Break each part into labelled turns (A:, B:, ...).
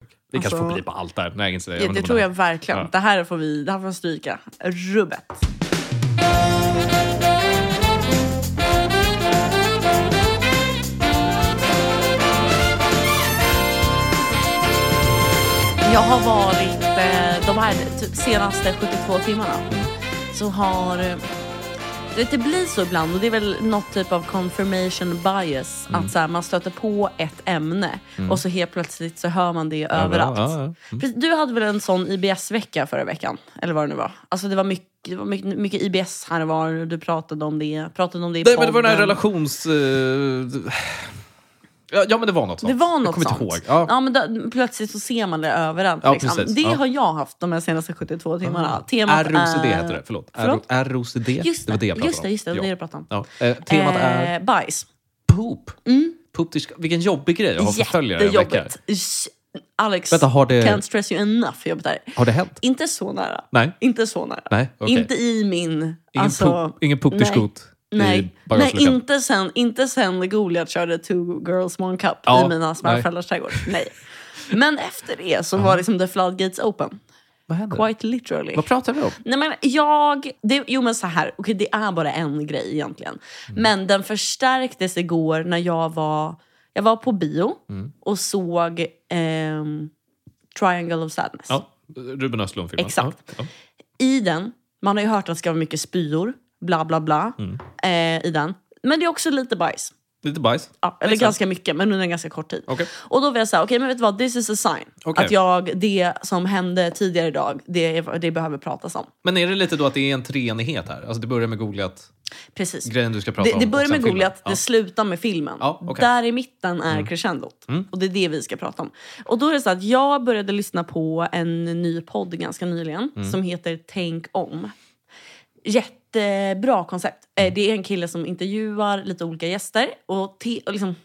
A: Det kanske
B: Alltså-
A: får bli på allt där. Nej, jag inte,
B: Ja, det tror jag verkligen.
A: Ja.
B: Det här får vi det här får vi stryka. Rubbet. Jag har varit eh, de här typ, senaste 72 timmarna så har eh, du vet, det blir så ibland och det är väl något typ av confirmation bias
A: Mm.
B: att så här, man stöter på ett ämne och så helt plötsligt så hör man det överallt.
A: ja, ja. Mm.
B: Precis, Du hade väl en sån IBS-vecka förra veckan? Eller vad det nu var. Alltså det var mycket, det var mycket, mycket IBS här och var. Du pratade om det, pratade om det i
A: Nej, men det var den här
B: podden.
A: relations... eh, ja, ja, men det var något sånt.
B: Det var något
A: jag kommer
B: sånt.
A: inte ihåg. Ja.
B: Ja, men då, plötsligt så ser man det överallt.
A: Ja,
B: liksom.
A: precis.
B: Det
A: Ja. Ah.
B: har jag haft de här senaste 72 timmarna. Temat
A: ROCD
B: är-
A: heter det, förlåt.
B: Förlåt?
A: R- ROCD,
B: Just
A: det var det jag
B: det,
A: pratade
B: just det, just det, det
A: om.
B: var det
A: Ja.
B: jag pratade om.
A: Ja. Eh, temat är
B: Eh, mm. bajs.
A: poop. poop till- vilken jobbig grej att ha förföljare i en vecka.
B: Jättejobbigt. Ish. Alex,
A: Vänta, har det-
B: can't stress you enough hur jobbigt det här är.
A: Har det hänt?
B: Inte så nära.
A: Nej.
B: Inte så nära.
A: Nej, okej.
B: Inte i min...
A: Ingen
B: alltså,
A: poop, ingen poop till
B: nej.
A: skot i
B: Nej, nej
A: bagageluckan?
B: inte, sen, inte sen Goliat körde Two Girls One Cup
A: Ja,
B: i mina svärföräldrars trädgård. Nej. Men efter det så var liksom the floodgates open.
A: Vad händer?
B: Quite literally.
A: Vad pratar vi om?
B: Nej, men jag, det, jo men så här, okej det är bara en grej egentligen.
A: Mm.
B: Men den förstärktes igår när jag var, jag var på bio
A: Mm.
B: och såg ehm, Triangle of Sadness.
A: Ja, Ruben Östlund-filmen.
B: Exakt.
A: Ja, ja.
B: I den, man har ju hört att det ska vara mycket spyor, bla bla bla,
A: Mm.
B: eh, i den. Men det är också lite bajs.
A: Lite bajs.
B: Ja, eller ganska mycket, men under en ganska kort tid.
A: Okej.
B: Och då var jag såhär, okej men vet du vad, this is a sign.
A: Okej.
B: Att jag, det som hände tidigare idag, det, är- det behöver pratas om.
A: Men är det lite då att det är en treenighet här? Alltså det börjar med Goliat-grejen
B: Precis.
A: du ska prata
B: Det,
A: om.
B: det
A: och
B: börjar
A: sen
B: med Goliat,
A: filmen.
B: det slutar med filmen.
A: Ja, okej. Mm.
B: Där i mitten är crescendot. Och det är det vi ska prata om. Och då är det så att jag började lyssna på en ny podd ganska nyligen
A: Mm.
B: som heter Tänk om. Jättebra koncept.
A: Mm.
B: Eh, Det är en kille som intervjuar lite olika gäster. Och, te- och liksom,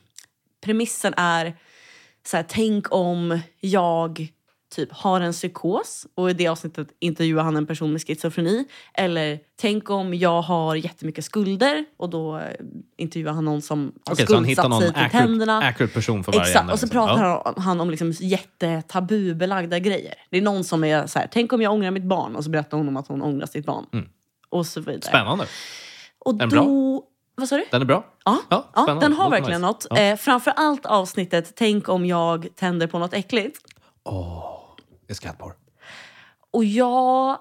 B: premissen är så här, tänk om jag typ har en psykos och i det avsnittet intervjuar han en person med schizofreni. Eller tänk om jag har jättemycket skulder och då eh, intervjuar han någon som har
A: Ja. Okej, så han hittar
B: skuldsatt
A: någon
B: sig till
A: accurate,
B: tänderna.
A: accurate person för varje
B: Exakt,
A: ämne,
B: och så
A: liksom.
B: pratar
A: Ja.
B: han- han om liksom jättetabubelagda grejer. Det är någon som är så här, tänk om jag ångrar mitt barn och så berättar hon om att hon ångrar sitt barn. Och så vidare.
A: Mm. Spännande.
B: Och
A: den
B: då, Vad sa du?
A: Den är bra.
B: Ja,
A: Ja,
B: ja,
A: spännande.
B: den har
A: Låter
B: verkligen
A: nice.
B: något. Eh, framför allt avsnittet Tänk om jag tänder på något äckligt.
A: Det är skattporr.
B: Och jag...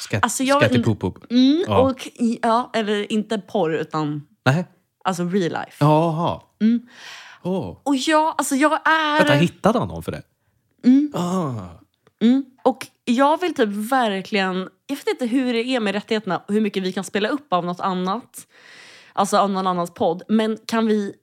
A: Skatt,
B: Alltså, jag vet inte-
A: Skattepoop-poop.
B: Mm,
A: Ja.
B: och, ja, eller inte porr, utan
A: Nej.
B: alltså real life.
A: Jaha. Åh.
B: Och jag, alltså jag Mm. är...
A: Vänta, hittade han någon för det? Ah.
B: Mm. Och jag vill typ verkligen... Jag vet inte hur det är med rättigheterna och hur mycket vi kan spela upp av något annat. Alltså av någon annans podd. Men kan vi,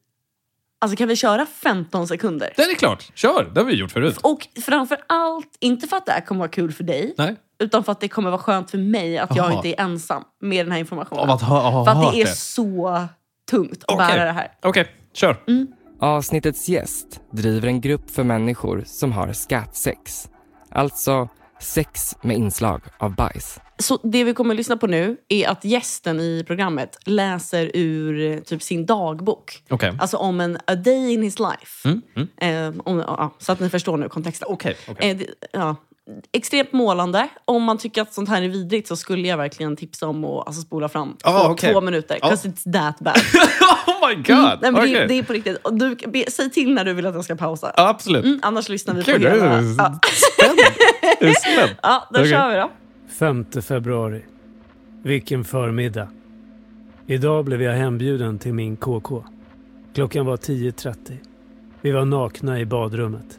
B: alltså kan vi köra 15 sekunder?
A: Den är klart. Kör! Det har vi gjort förut.
B: Och framför allt, inte för att det här kommer vara kul för dig.
A: Nej.
B: Utan för att det kommer vara skönt för mig att jag
A: Aha.
B: inte är ensam med den här informationen.
A: Av att ha, ha
B: för att
A: hört
B: det är
A: det.
B: så tungt att
A: Okej.
B: bära det här.
A: Okej, kör.
B: Mm.
C: Avsnittets gäst driver en grupp för människor som har skattsex. Alltså sex med inslag av bajs.
B: Så det vi kommer att lyssna på nu är att gästen i programmet läser ur eh, typ sin dagbok.
A: Okej.
B: Alltså om en a day in his life.
A: Mm, mm.
B: Eh, om, ja, så att ni förstår nu kontexten.
A: Okej, okej.
B: Eh, det- ja. Extremt målande. Om man tycker att sånt här är vidrigt så skulle jag verkligen tipsa om att alltså, spola fram
A: Ah,
B: två,
A: okej.
B: två minuter.
A: Ja.
B: Because it's that bad.
A: oh my god!
B: Mm, Nej, men det,
A: Okej.
B: det är på riktigt. Och Du, be, säg till när du vill att jag ska pausa.
A: Absolut.
B: Mm, annars lyssnar vi
A: Kul.
B: på
A: Jag
B: hela.
A: är
B: Ja,
A: spänd. Jag är spänd.
B: ja då
A: Okej.
B: kör vi då.
D: 5 februari. Vilken förmiddag. Idag blev jag hembjuden till min KK. Klockan var 10.30. Vi var nakna i badrummet.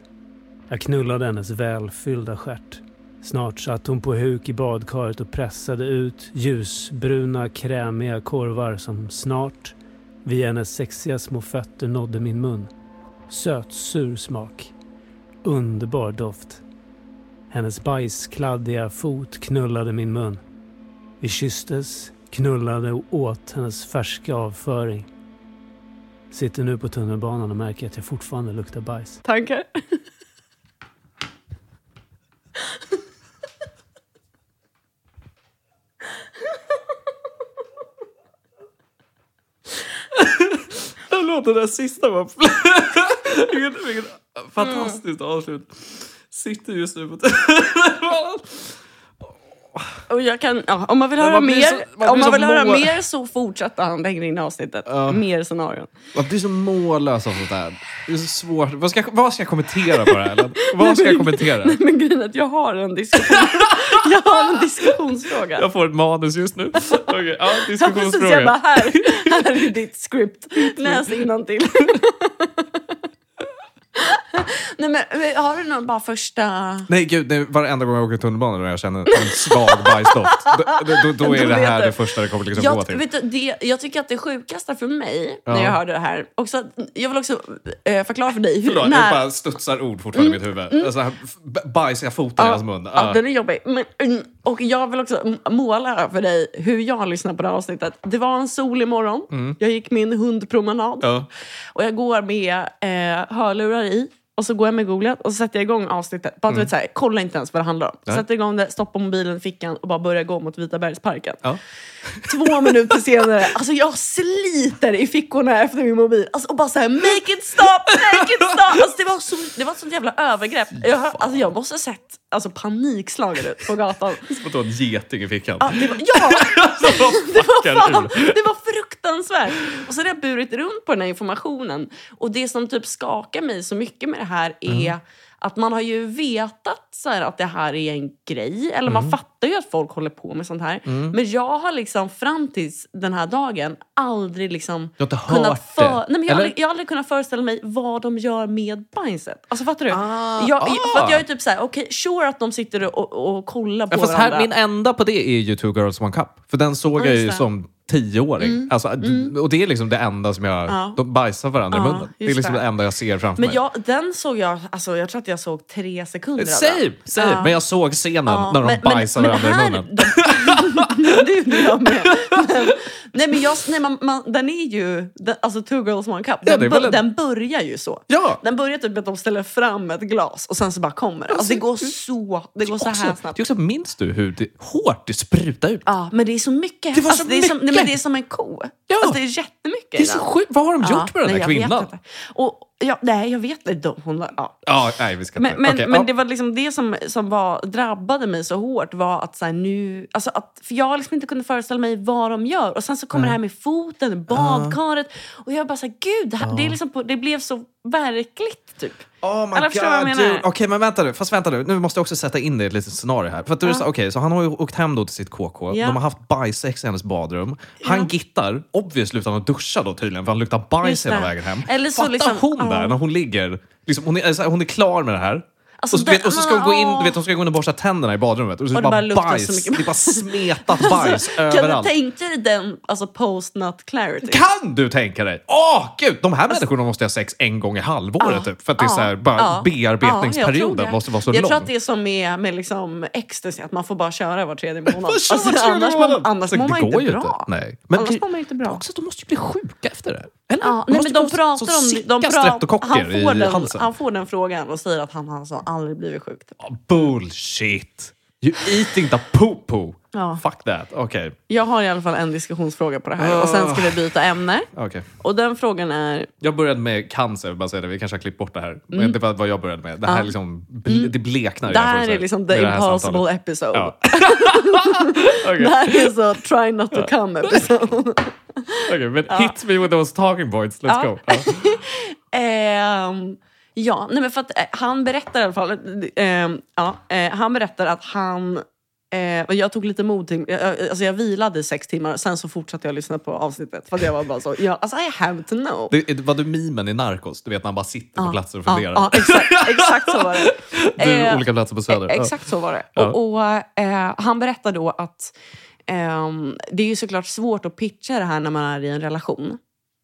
D: Jag knullade hennes välfyllda stjärt. Snart satt hon på huk i badkaret och pressade ut ljusbruna krämiga korvar som snart, via hennes sexiga små fötter, nådde min mun. Sötsur smak. Underbar doft. Hennes bajskladdiga fot knullade min mun. Vi kysstes, knullade och åt hennes färska avföring. Sitter nu på tunnelbanan och märker att jag fortfarande luktar bajs.
B: Tankar? Mm.
A: Den låten där sista var... vilket, vilket fantastiskt avslut. sitter just nu på
B: Och jag kan, ja, om man vill höra
A: man blir
B: mer
A: så- man blir
B: om man
A: så
B: vill höra
A: må-
B: mer så fortsätter han längre in i avsnittet. Mer scenarion.
A: Man blir så mållös av sånt här. Det är så svårt. Vad ska, vad ska jag kommentera på det här? Ellen? Vad ska jag kommentera?
B: Nej, men grejen är att jag har en diskussion. jag har en diskussionsfråga.
A: Jag får ett manus just nu. Okej, ja,
B: Ja, precis,
A: diskussionsfråga.
B: jag bara, här, här är ditt script. Läs innantill. Nej, men, har du någon bara första...
A: Nej gud, nej, varenda gång jag åker tunnelbana och jag känner en svag bajsdoft. Då, då, då är
B: Då
A: det
B: vet
A: här
B: du.
A: det första det kommer liksom gå
B: Jag,
A: till.
B: vet du, det, jag tycker att det sjukaste för mig när
A: Ja.
B: jag hörde det här... Också, att- jag vill också eh, förklara för dig hur...
A: Förlåt,
B: när,
A: jag bara studsar ord fortfarande i mitt huvud. Mm. Så här, f- b- bajsiga foten i hans mun.
B: Ja,
A: Ja.
B: den är jobbig. Men, mm, och jag vill också m- måla för dig hur jag lyssnar på det här avsnittet. Det var en solig morgon.
A: Mm.
B: Jag gick min hundpromenad.
A: Ja.
B: Och jag går med eh, hörlurar i. Och så går jag med googlet och så sätter jag igång avsnittet. Bara, du vet, så här, kolla inte ens vad det handlar om. Sätter igång det, stoppar mobilen i fickan och bara börjar gå mot Vita bergsparken.
A: Ja.
B: Två minuter senare, alltså jag sliter i fickorna efter min mobil. Alltså, och bara så här, make it stop, make it stop. Alltså, det, var så, det var ett sånt jävla övergrepp. Jag, hör- alltså, jag måste ha sett alltså, panikslagen ut på gatan.
A: Som att du har en geting i fickan.
B: Ja, det var, ja,
A: det
B: vad fan, det var fruktansvärt! Och så har jag burit runt på den här informationen. Och det som typ skakar mig så mycket med det här är
A: Mm.
B: att man har ju vetat så här, att det här är en grej. Eller man
A: Mm.
B: fattar ju att folk håller på med sånt här. Men jag har liksom fram tills den här dagen aldrig liksom
A: Du har inte hört
B: kunnat
A: det,
B: Nej, men
A: eller?
B: jag, har aldrig, jag har aldrig kunnat föreställa mig vad de gör med bindset. Alltså fattar du?
A: Ah,
B: jag,
A: ah.
B: För att jag är typ så här, okej, sure att de sitter och, och kollar på
A: Ja, fast
B: varandra.
A: här, min enda på det är ju Two Girls One Cup. För den såg
B: Ja,
A: jag
B: just
A: ju
B: det. Mm.
A: som tioåring. Alltså, Och det är liksom det enda som jag...
B: Ja.
A: De bajsar varandra i
B: Ja,
A: munnen. Det är
B: just
A: liksom
B: det.
A: det. enda jag ser framför
B: Men
A: mig.
B: jag, den såg jag, alltså jag tror att jag såg tre sekunder av den.
A: Same, same.
B: Ja.
A: Men jag såg scenen
B: Ja,
A: när de
B: men- men-
A: bajsar
B: men
A: varandra
B: här-
A: i munnen.
B: det gjorde jag med. Men, nej men jag, nej, man, man, den är ju, den, alltså Two Girls One Cup,
A: Ja,
B: den,
A: det är
B: bör-
A: väl en-
B: den börjar ju så.
A: Ja!
B: Den börjar typ med att de ställer fram ett glas och sen så bara kommer det. Alltså det går så, det går så här
A: Också, det
B: snabbt.
A: är också, minns du hur det, hårt det sprutade ut?
B: Ja, men det är så mycket.
A: Det var så
B: alltså, det är som, nej, men
A: mycket.
B: det är som en ko.
A: Ja.
B: Alltså, det är jättemycket
A: Det är
B: i
A: så
B: den.
A: sjukt. Vad har de gjort
B: Ja,
A: med den
B: nej,
A: här
B: jag vet
A: kvinnan?
B: inte. Och, ja, nej, jag vet inte. De- Hon, ja,
A: Ja, nej, vi ska inte.
B: Men, men,
A: Okej, ja.
B: men det var liksom det som, som var, drabbade mig så hårt var att så här, nu... Alltså att, för jag liksom inte kunde föreställa mig vad de gör. Och sen så kommer det här med foten, badkaret. Och jag bara så här, gud, det, här, det, är liksom på, det blev så verkligt typ.
A: Oh my
B: Alla
A: god,
B: förstår vad jag menar.
A: dude. Okej, men vänta nu. Fast vänta nu. Nu måste jag också sätta in det i ett litet scenario här. För att du sa, okej, så han har ju åkt hem då till sitt KK.
B: Ja.
A: De har haft bajsex i hennes badrum. Han gittar, obviously utan att duscha då tydligen, för han luktar bajs
B: Just
A: hela
B: det.
A: vägen hem.
B: Eller så
A: Fattar
B: liksom-
A: hon
B: ja.
A: där när hon ligger, liksom, hon, är, så här, hon är klar med det här.
B: Alltså,
A: och, så,
B: det-
A: du vet, och så ska hon gå in, du
B: åh.
A: vet, hon ska gå in och borsta tänderna i badrummet. Och, så
B: Och
A: det
B: det
A: bara,
B: bara luktar så
A: bajs.
B: mycket. Alltså,
A: Det är bara smetat bajs
B: kan
A: överallt.
B: du tänka dig den alltså, post-nut clarity?
A: Kan du tänka dig? Åh, gud! De här människorna måste ha sex en gång i halvåret.
B: Alltså- Ja.
A: typ, för att det är så här, bara
B: Ja. Ja, jag tror
A: bearbetningsperioden
B: det.
A: måste vara så
B: jag
A: lång.
B: tror att det är som med, med liksom ecstasy, att man får bara köra var tredje månad.
A: Vad kör man
B: alltså,
A: tredje
B: annars mår
A: månaden?
B: annars
A: Så
B: mår
A: det
B: man inte
A: går ju
B: bra.
A: Nej. Men
B: Annars
A: det-
B: mår man inte bra.
A: Också, de måste ju bli sjuka efter det. Eller?
B: Ja,
A: De
B: nej,
A: måste
B: men de
A: få
B: pratar
A: så
B: om...
A: sicka
B: De pratar, han,
A: streptokocker
B: får
A: i
B: den,
A: halsen.
B: han får den frågan och säger att han har alltså aldrig blivit sjuk. typ.
A: Bullshit! You eating the poo-poo!
B: Ja.
A: Fuck that. Okej.
B: Jag har i alla fall en diskussionsfråga på det här och sen ska vi byta ämne.
A: okej.
B: Och den frågan är...
A: Jag började med cancer, jag vill bara säga det. vi kanske har klippt bort det här. Men det var vad jag började med. Det här liksom, bl- det bleknar
B: Mm. Det
A: jämfört
B: här är
A: med-
B: liksom the
A: med det här
B: impossible
A: samtalet.
B: episode.
A: Ja.
B: Det
A: Okej,
B: här är så try not to come episode.
A: okej, men hit me with those talking points. Let's
B: Ja.
A: go. Ja.
B: Ehm, ja, nej men för att eh, han berättar i alla fall. ehm, ja, eh, han berättar att han... Eh, och jag tog lite mod till, jag, jag- alltså jag vilade i sex timmar, sen så fortsatte jag lyssna på avsnittet. För att jag var bara så, ja, alltså I have to know.
A: Det, det var du mimen i Narcos? Du vet när han bara sitter på platser och funderar.
B: Ja, ja, exakt, exakt så var det.
A: du,
B: Eh,
A: olika platser på Söder.
B: Eh, Exakt så var det.
A: Ja.
B: Och, och, eh, han berättar då att ehm, det är ju såklart svårt att pitcha det här när man är i en relation.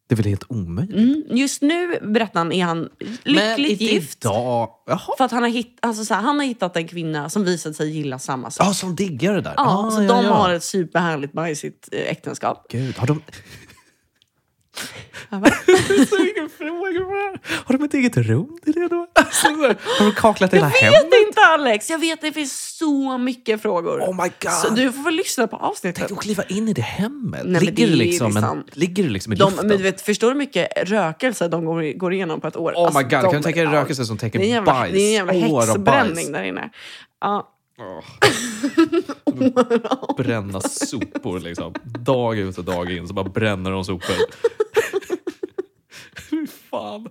A: Det är väl helt omöjligt?
B: Mm. Just nu, berättar han, är han lyckligt gift.
A: Idag... Jaha.
B: För att han har, hitt, alltså så här, han har hittat en kvinna som visat sig gilla samma sak.
A: Ja, som diggar det där.
B: Ja,
A: ah,
B: så
A: ja,
B: de
A: ja.
B: har ett superhärligt bajsigt eh, äktenskap.
A: Gud, har de...
B: Ja, va?
A: Så mycket frågor på det här. Har de ett eget rum till det då? Alltså, så här, har de kaklat hela hemmet?
B: Jag vet inte Alex, jag vet det finns så mycket frågor.
A: Oh my god!
B: Så du får väl lyssna på avsnittet.
A: Tänk att kliva in i det hemmet.
B: Nej, men
A: ligger, det
B: det är
A: liksom en,
B: liksom-
A: ligger det liksom i
B: De,
A: luften?
B: men du vet, förstår du hur mycket rökelse de går, går igenom på ett år?
A: oh
B: Alltså,
A: my god,
B: de-
A: kan du tänka dig
B: ja.
A: rökelse som
B: Det är en
A: täcker
B: jävla,
A: bajs?
B: det är en jävla
A: År av
B: häxbränning
A: bajs.
B: där inne. Ja.
A: Åh. Bränna sopor liksom. Dag ut och dag in så bara bränner de sopor. Fy fan.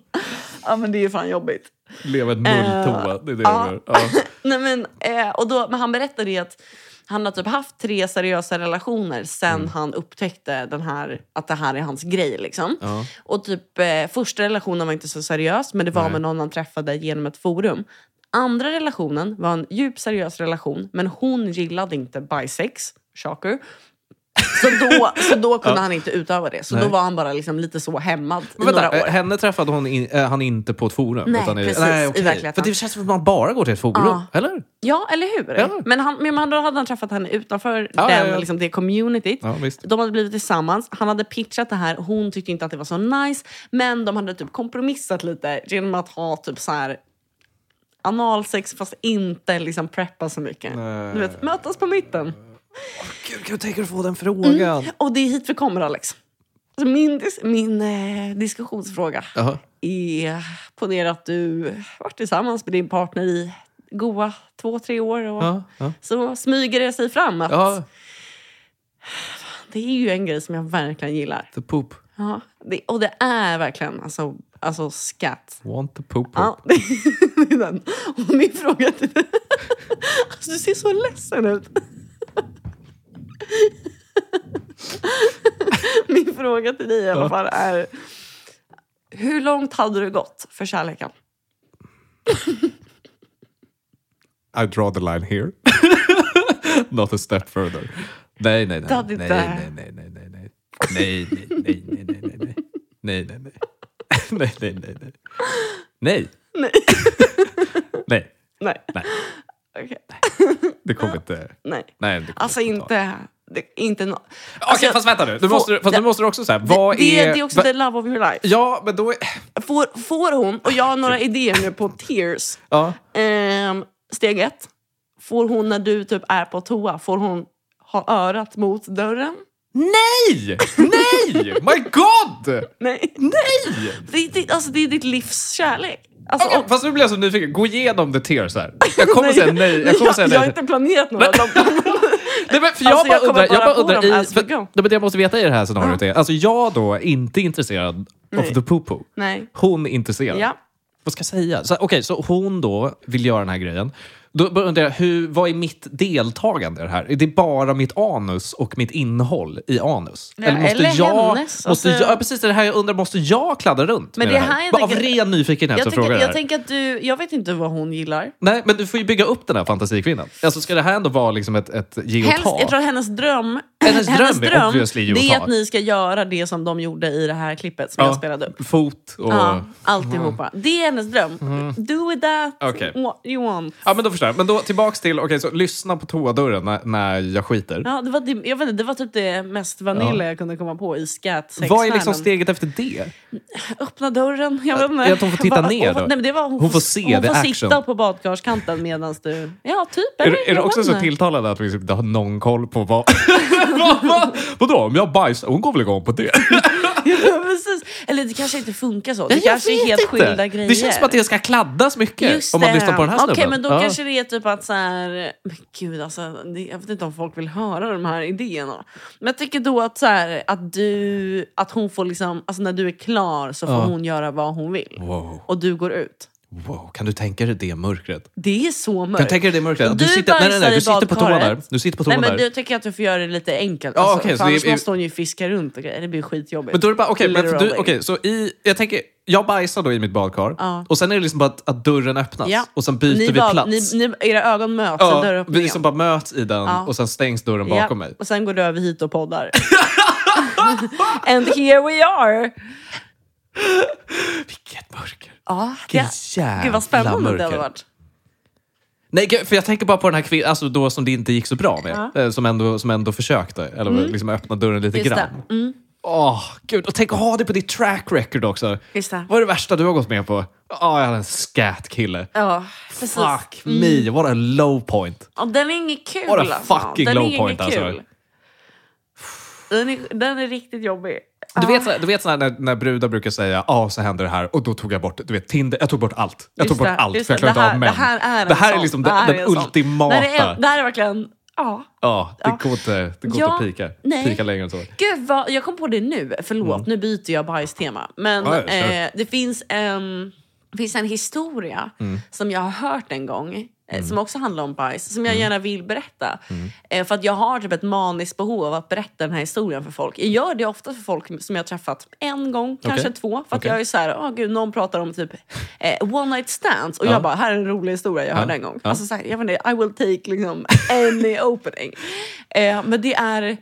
B: ja, men det är ju fan jobbigt.
A: Leva ett mulltoa. Det är det
B: Eh, ja.
A: de gör. Ja.
B: Nej, men, eh, och då, men han berättade ju att han har typ haft tre seriösa relationer sen
A: Mm.
B: han upptäckte den här, att det här är hans grej. Liksom.
A: Ja.
B: Och typ, eh, första relationen var inte så seriös, men det var
A: Nej.
B: med någon han träffade genom ett forum. Andra relationen var en djup seriös relation, men hon gillade inte bisex, shocker. Så då, så då kunde han inte utöva det. Så då
A: Nej.
B: var han bara liksom lite så hämmad i
A: Men vänta,
B: några
A: eh,
B: år.
A: henne träffade hon in, eh, han inte på ett forum?
B: Nej,
A: utan i,
B: precis, i
A: okej.
B: verkligheten.
A: För det känns som att man bara går till ett forum,
B: Ja.
A: eller?
B: Ja, eller hur?
A: Ja.
B: Men, han, men han- då hade han träffat henne utanför
A: Ja,
B: den,
A: ja, ja.
B: Liksom, det communityt.
A: Ja, visst.
B: De hade blivit tillsammans, han hade pitchat det här, hon tyckte inte att det var så nice. Men de hade typ kompromissat lite genom att ha typ så här analsex fast inte liksom preppa så mycket.
A: Nej.
B: Du vet, mötas på mitten.
A: Gud, kan du tänka dig att få den frågan?
B: Och det är hit vi kommer Alex. Så min dis- min eh, diskussionsfråga
A: Jaha.
B: är, ponera att du varit tillsammans med din partner i goa två, tre år. Och
A: Ja, ja.
B: så smyger det sig fram att
A: ja,
B: det är ju en grej som jag verkligen gillar.
A: the poop.
B: Ja, det, och det är verkligen alltså, alltså skatt.
A: Want the poop. poop.
B: Ja, det är den. Och min fråga till dig... Alltså, du ser så ledsen ut. Min fråga till dig i alla fall är... Hur långt hade du gått för kärleken?
A: I draw the line here. Not a step further. Nej, nej, nej.
B: Daddy
A: Nej, nej,
B: bear.
A: nej, nej, nej, nej. Nej, nej, nej, nej, nej, nej, nej. Nej, nej, nej. Nej, nej, nej, nej. Nej.
B: Nej.
A: Nej,
B: Nej.
A: Nej.
B: Okej.
A: det kommer inte...
B: Nej.
A: Nej, det kommer
B: Alltså
A: inte ta.
B: inte... Det, inte no-
A: Okej,
B: alltså,
A: fast vänta nu. Du
B: få-
A: måste, fast
B: det-
A: du måste också säga, vad
B: det,
A: är...
B: det är också the love of your life.
A: Ja, men då är...
B: Får, får hon, och jag har några idéer nu på tears.
A: Ja.
B: Ehm, steg ett. Får hon när du typ är på toa, får hon ha örat mot dörren?
A: Nej! Nej! My God!
B: Nej.
A: Nej!
B: Det, är ditt- alltså, det är ditt livs kärlek. Alltså,
A: Okej,
B: och-
A: fast nu blir jag så nyfiken. Gå igenom the tears här. Jag kommer säga nej. Jag kommer
B: jag,
A: säga
B: jag har
A: nej.
B: inte planerat några av dem.
A: Nej, men för jag,
B: Alltså,
A: bara undrar,
B: jag kommer
A: jag
B: bara
A: bara
B: på
A: undrar
B: dem
A: i,
B: as we
A: för,
B: go.
A: nej, men det jag måste veta i det här scenariot är, alltså jag då är inte intresserad
B: Nej.
A: of the poo-poo.
B: Nej.
A: Hon är intresserad.
B: Ja.
A: Vad ska jag säga? Så, Okej, så hon då vill göra den här grejen. Då bara undrar jag, hur, vad är mitt deltagande i det här? Är det bara mitt anus och mitt innehåll i anus?
B: Ja, eller
A: jag,
B: hennes,
A: Måste
B: alltså-
A: jag, ja, precis, det är det här jag undrar, måste jag kladda runt
B: Men
A: med
B: det
A: det här?
B: här jag
A: Bara av
B: tänker-
A: ren nyfikenhet så
B: Jag,
A: frågar jag
B: tänker,
A: det här.
B: jag tänker att du, jag vet inte vad hon gillar.
A: Nej, men du får ju bygga upp den här fantasikvinnan. Alltså ska det här ändå vara liksom ett, ett ge och
B: Helst,
A: ta?
B: jag tror att hennes dröm,
A: Hennes dröm är obviously ju att
B: det är
A: ta.
B: att ni ska göra det som de gjorde i det här klippet som
A: Ja,
B: jag spelade upp.
A: Fot och... Mm.
B: Ja, alltihopa. Det är hennes dröm. Do with that
A: Okej.
B: what you want.
A: Ja, men då förstår jag. Men då tillbaks till, okej, så lyssna på toadörren när, när jag skiter.
B: Ja, det, var, det- jag vet inte, det var typ det mest vanilla jag kunde komma på i scat
A: Vad är liksom steget efter det?
B: Öppna dörren. Jag vet inte.
A: att hon får titta
B: Va-
A: ner
B: hon får-
A: då?
B: Nej, men det var, hon,
A: Hon får se
B: Hon
A: the
B: får
A: action.
B: sitta på badkarskanten medan du... Ja, typ.
A: Är,
B: eller?
A: du- är du
B: Jag
A: också
B: vet
A: så
B: inte.
A: tilltalad att du liksom inte har någon koll på vad... vad, vad vadå, om jag bajsar? Hon går väl igång på det?
B: Ja, Precis. Eller det kanske inte funkar så. Det kanske är helt skilda grejer.
A: Det känns som att det ska kladdas mycket
B: Just
A: om man
B: det.
A: lyssnar på den här
B: Okej,
A: snubben.
B: men då
A: Ja.
B: kanske det är typ att så här... Men gud, alltså, det, jag vet inte om folk vill höra de här idéerna. Men jag tycker då att, så här, att, du, att hon får liksom... Alltså när du är klar så får
A: Ja.
B: hon göra vad hon vill.
A: Wow,
B: Och du går ut.
A: wow, kan du tänka dig det mörkret?
B: Det är så mörkt.
A: Kan du tänka dig det mörkret? Att
B: Du
A: sitter, nej, nej,
B: bajsar
A: nej,
B: i
A: du sitter på toan där.
B: badkaret.
A: Du sitter på
B: Nej
A: toan
B: men
A: där.
B: du tycker jag att du får göra det lite enkelt.
A: Ja,
B: alltså,
A: okej,
B: för
A: så
B: annars
A: det är-
B: måste hon ju fiska runt och grejer. Det blir skitjobbigt.
A: Men då är det bara, okej, men för du,
B: Literally.
A: okej, så i, jag tänker, jag bajsar då i mitt badkar
B: Ja.
A: och sen är det liksom bara att, att dörren öppnas
B: Ja.
A: och sen byter
B: ni
A: vi
B: bara-
A: plats.
B: Ni, ni, era ögon möts, sen dörren
A: ja,
B: öppnar
A: vi liksom
B: igen.
A: bara möts i den
B: Ja.
A: och sen stängs dörren bakom
B: Ja,
A: mig.
B: Och sen går du över hit och poddar. And here we are!
A: Vilket mörker!
B: Ja, det,
A: Vilket jävla
B: gud vad spännande det hade
A: mörker.
B: varit.
A: Nej, gud, för jag tänker bara på den här kvinnan alltså då som det inte gick så bra med. eh, Som, ändå, som ändå försökte, eller liksom öppna dörren lite
B: Mm. Just det.
A: grann.
B: Mm.
A: Åh, Åh, gud. Och tänk att ha det på ditt track record också.
B: Just det.
A: Vad är det värsta du har gått med på? Ja, jag hade en scat-kille.
B: Ja, precis. Mm.
A: Fuck me, what a low point.
B: Ja, den är inget kul.
A: What a
B: alltså.
A: fucking
B: den
A: low
B: är inget
A: point,
B: kul.
A: alltså.
B: Den är, den är riktigt jobbig.
A: Du vet, så- du vet så här, när, när brudar brukar säga ja så händer det här och då tog jag bort du vet, Tinder. Jag tog bort allt. Jag tog
B: Just
A: bort
B: det,
A: allt
B: just
A: för jag
B: det.
A: klarade
B: Det
A: inte
B: här-
A: av män.
B: Det här är, en
A: det här är
B: sån.
A: liksom
B: Det
A: den,
B: här är
A: den
B: en sån.
A: ultimata.
B: Det här är, det här är verkligen... Ja.
A: Ja, det
B: Ja.
A: går inte, det går
B: Ja,
A: inte att pika,
B: nej.
A: pika längre än så.
B: Gud, vad, jag kom på det nu. Förlåt, nu byter jag bajstema. Men
A: Mm. Ja, ja, kör.
B: eh, det finns en, det finns en historia
A: Mm.
B: som jag har hört en gång eh, som också handlar om bajs, som jag
A: Mm.
B: gärna vill berätta. Eh, för att jag har typ ett maniskt behov av att berätta den här historien för folk. Jag gör det ofta för folk som jag har träffat en gång, kanske
A: Okej.
B: två. För att
A: Okej.
B: jag är så här, åh gud, någon pratar om typ eh, one night stands och jag bara, här är en rolig historia jag hörde en gång.
A: Ja.
B: Alltså, så här, jag vet inte, I will take liksom, any opening. Eh, men det är,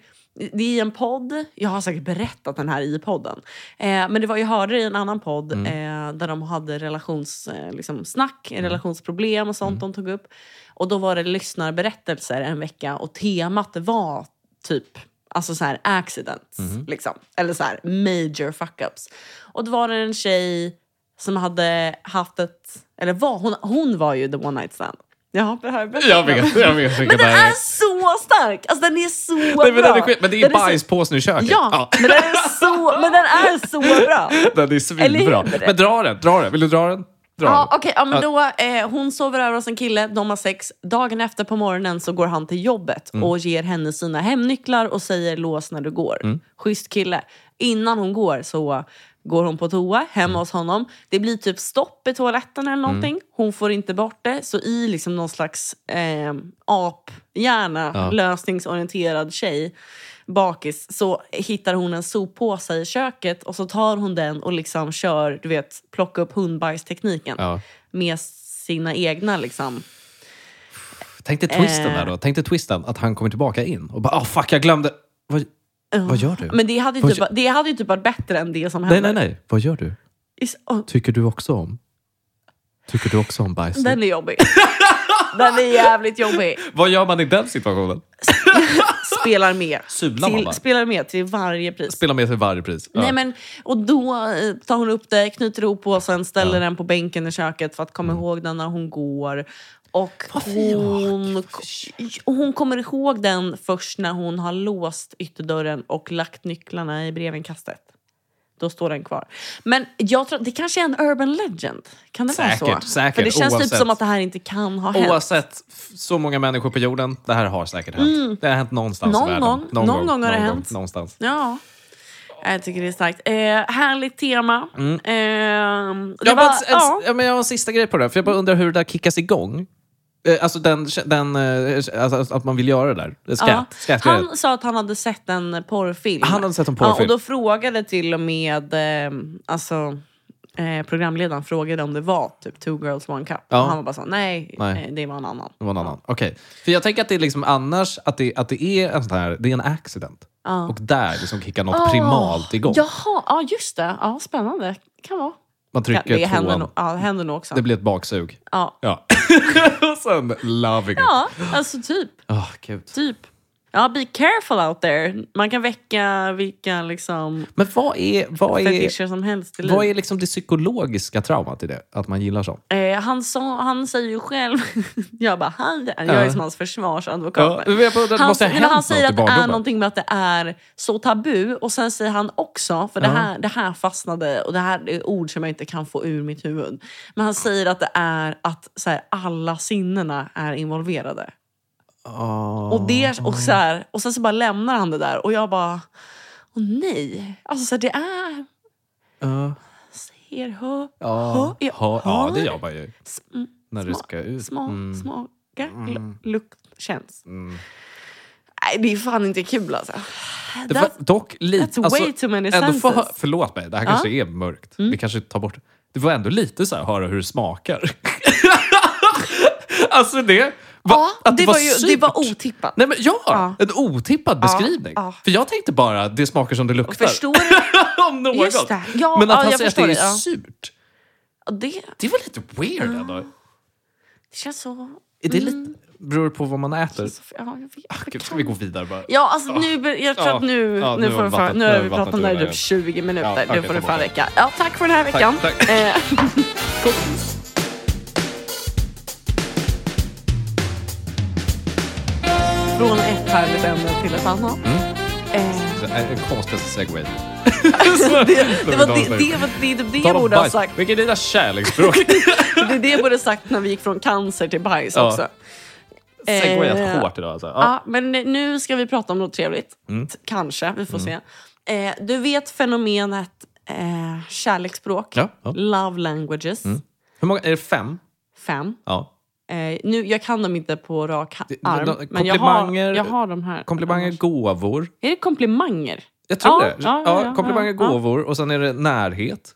B: det är i en podd, jag har säkert berättat den här i podden. Eh, men det var, jag hörde det i en annan podd eh, där de hade relationssnack, eh, liksom, snack, relationsproblem och sånt de tog upp. Och då var det lyssnarberättelser en vecka och temat var typ Alltså så här accidents, liksom. eller så här major fuck-ups. Och då var det en tjej som hade haft ett... Eller var, hon, hon var ju the one night stand. Ja, det här är
A: Jag vet, jag vet vilken
B: Men
A: det
B: den
A: här
B: är
A: är.
B: så stark! Alltså den är så
A: Nej, men,
B: bra.
A: den är skit, men det är
B: Den så-
A: bajspåsen i köket.
B: Ja, Men, den är så, men den är så bra.
A: Den är svinbra.
B: Eller hur?
A: Men dra den, dra den. Vill du dra den? Dra
B: Ja,
A: den.
B: okej. ja, men då, eh, hon sover över hos en kille, de har sex. Dagen efter på morgonen så går han till jobbet och ger henne sina hemnycklar och säger lås när du går. Schysst kille. Innan hon går så går hon på toa hemma hos honom. Det blir typ stopp i toaletten eller någonting. Hon får inte bort det. Så i liksom någon slags eh, aphjärna,
A: Ja.
B: lösningsorienterad tjej, bakis, så hittar hon en soppåse i köket och så tar hon den och liksom kör, du vet, plocka upp hundbajstekniken
A: Ja.
B: med sina egna liksom.
A: Tänk dig twisten
B: Eh.
A: där då. Tänk dig twisten att han kommer tillbaka in och bara ah fuck jag glömde. Vad, vad gör du?
B: Men det hade, ju
A: Vad
B: typ,
A: gör-
B: det hade ju typ varit bättre än det som
A: nej
B: hände.
A: nej nej, vad gör du?
B: Is- åh,
A: Tycker du också om? Tycker du också om bajs?
B: den är jobbig. den är jävligt jobbig.
A: Vad gör man i den situationen?
B: Spelar med.
A: Sular man
B: till,
A: bara?
B: spelar med till varje pris.
A: Spela med sig varje pris. Ja.
B: Nej, men, och då eh, tar hon upp det, knyter ihop påsen, ställer
A: Ja. Mm.
B: den på bänken i köket för att komma ihåg den när hon går. Och hon, och hon kommer ihåg den först när hon har låst ytterdörren och lagt nycklarna i brevinkastet. Då står den kvar. Men jag tror, det kanske är en urban legend. Kan det vara
A: Säkert,
B: så?
A: säkert,
B: För det känns typ
A: oavsett.
B: som att det här inte kan ha hänt.
A: Oavsett f- så många människor på jorden, det här har säkert hänt. Det har hänt någonstans
B: Mm. Någon
A: i världen.
B: gång. Någon gång har det hänt.
A: någonstans.
B: Ja. Jag tycker det är starkt. Eh, härligt tema. Eh, det
A: Mm. Jag,
B: var-
A: bara, en,
B: ja.
A: ja. men jag har en sista grej på det här, för jag bara undrar hur det där kickas igång. Eh, Alltså, den, den, eh, alltså att man vill göra det där. Eh, Skatt,
B: Ja.
A: skatt,
B: Han sa att han hade sett en porrfilm.
A: Han hade sett en
B: Ja, och
A: porrfilm.
B: då frågade till och med eh, alltså, eh, programledaren frågade om det var typ two girls one cup.
A: Ja.
B: Och han var bara så nej,
A: Nej.
B: eh, det var en annan.
A: Det var en annan. Okej. För jag tänker att det är liksom annars, att det, att det är en sån här, det är en accident.
B: Ja.
A: Och där liksom kickar något
B: Ah.
A: primalt igång.
B: Jaha, ja just det. Ja, spännande. Kan vara.
A: Man
B: Ja,
A: trycker
B: det händer,
A: tvåan,
B: nog- ja, det händer nog också.
A: det blir ett baksug.
B: Ja.
A: Ja. och sen loving it.
B: ja, alltså typ.
A: Åh, gud.
B: typ. Ja, be careful out there. Man kan väcka vilka liksom,
A: Men vad är, vad är,
B: fetischer som helst i livet.
A: vad är liksom det psykologiska traumat i det? Att man gillar sånt?
B: Eh, han, sa, han säger ju själv... jag bara, han, jag är
A: Ja.
B: som hans försvarsadvokat.
A: Ja, men jag bara, det
B: han,
A: måste ha
B: men
A: hänt
B: han säger
A: något i
B: att det är
A: barndomen.
B: någonting med att det är så tabu. Och sen säger han också, för det
A: Ja.
B: här, det här fastnade och det här är ord som jag inte kan få ur mitt huvud. Men han säger att det är att så här, alla sinnena är involverade.
A: Ah.
B: Och, det, och, så här, och sen så bara lämnar han det där och jag bara, åh nej. Alltså så här, det är... Ah.
A: Ja.
B: Ser, hör,
A: Ja.
B: hör,
A: Ja, ja, det
B: hör.
A: gör man ju.
B: Mm.
A: När du
B: Smak-
A: ska ut.
B: Smak,
A: Mm.
B: smaka,
A: Mm.
B: l- lukt, känns.
A: Mm.
B: Nej, det är fan inte kul alltså.
A: Det var
B: That's,
A: dock lite... alltså,
B: that's way too many
A: ändå
B: senses.
A: få hö- förlåt mig, det här
B: Ja.
A: kanske är mörkt. Vi kanske tar bort det. Det var ändå lite så här höra hur det smakar. alltså det... va-
B: ja,
A: att
B: det, var ju,
A: surt.
B: det var otippat.
A: Nej, men ja,
B: Ja.
A: en otippad beskrivning.
B: ja.
A: För jag tänkte bara det smakar som det luktar.
B: Förstår du?
A: Om något.
B: Just det. Ja,
A: men att
B: ja,
A: han
B: jag
A: säger att det
B: förstår
A: är
B: det, ja.
A: surt,
B: Det,
A: det var lite weird ändå.
B: det känns så...
A: Är det lite... Beror på vad man äter?
B: Så- Ja, jag vet,
A: Ah, Gud,
B: jag
A: Ska vi
B: kan.
A: gå vidare bara?
B: Ja, alltså nu, ber- jag tror
A: Ja.
B: att nu,
A: Ja,
B: nu,
A: Ah, nu har
B: får
A: vi
B: det
A: vattnat- nu
B: fan, nu
A: har vi
B: har vi
A: vattnat
B: pratat om det här
A: ur
B: i
A: det.
B: typ 20
A: Ja,
B: minuter.
A: okej,
B: nu får det
A: förlåt.
B: fan räcka. Ja, tack för den här veckan.
A: tack.
B: Eh, Från ett härligt ämne till ett annat. Eh,
A: Mm. Det är en konstigaste segway.
B: Alltså, det, det, var
A: Dagens
B: det,
A: läge.
B: det, var- det, det, det
A: Tala
B: jag
A: om
B: borde ha
A: bajs.
B: sagt.
A: Vilket är dina kärleksspråk?
B: Det är det jag borde ha sagt när vi gick från cancer till bajs
A: Ja.
B: också.
A: Segwayat
B: Eh,
A: hårt idag alltså. Ja.
B: Ja, men nu ska vi prata om något trevligt.
A: Mm.
B: T- Kanske, vi får se. Eh, du vet fenomenet eh, kärleksspråk,
A: Ja, ja. Mm.
B: love languages,
A: Hur många? Är det fem?
B: fem.
A: Ja.
B: Eh, nu, jag kan dem inte på rak ha-
A: Det-
B: arm,
A: de- de-
B: men jag har,
A: komplimanger-
B: jag har de här.
A: Komplimanger,
B: annars.
A: gåvor.
B: Är det komplimanger?
A: Jag tror
B: Ja,
A: det.
B: ja, ja, ja,
A: komplimanger,
B: ja.
A: gåvor och sen är det närhet.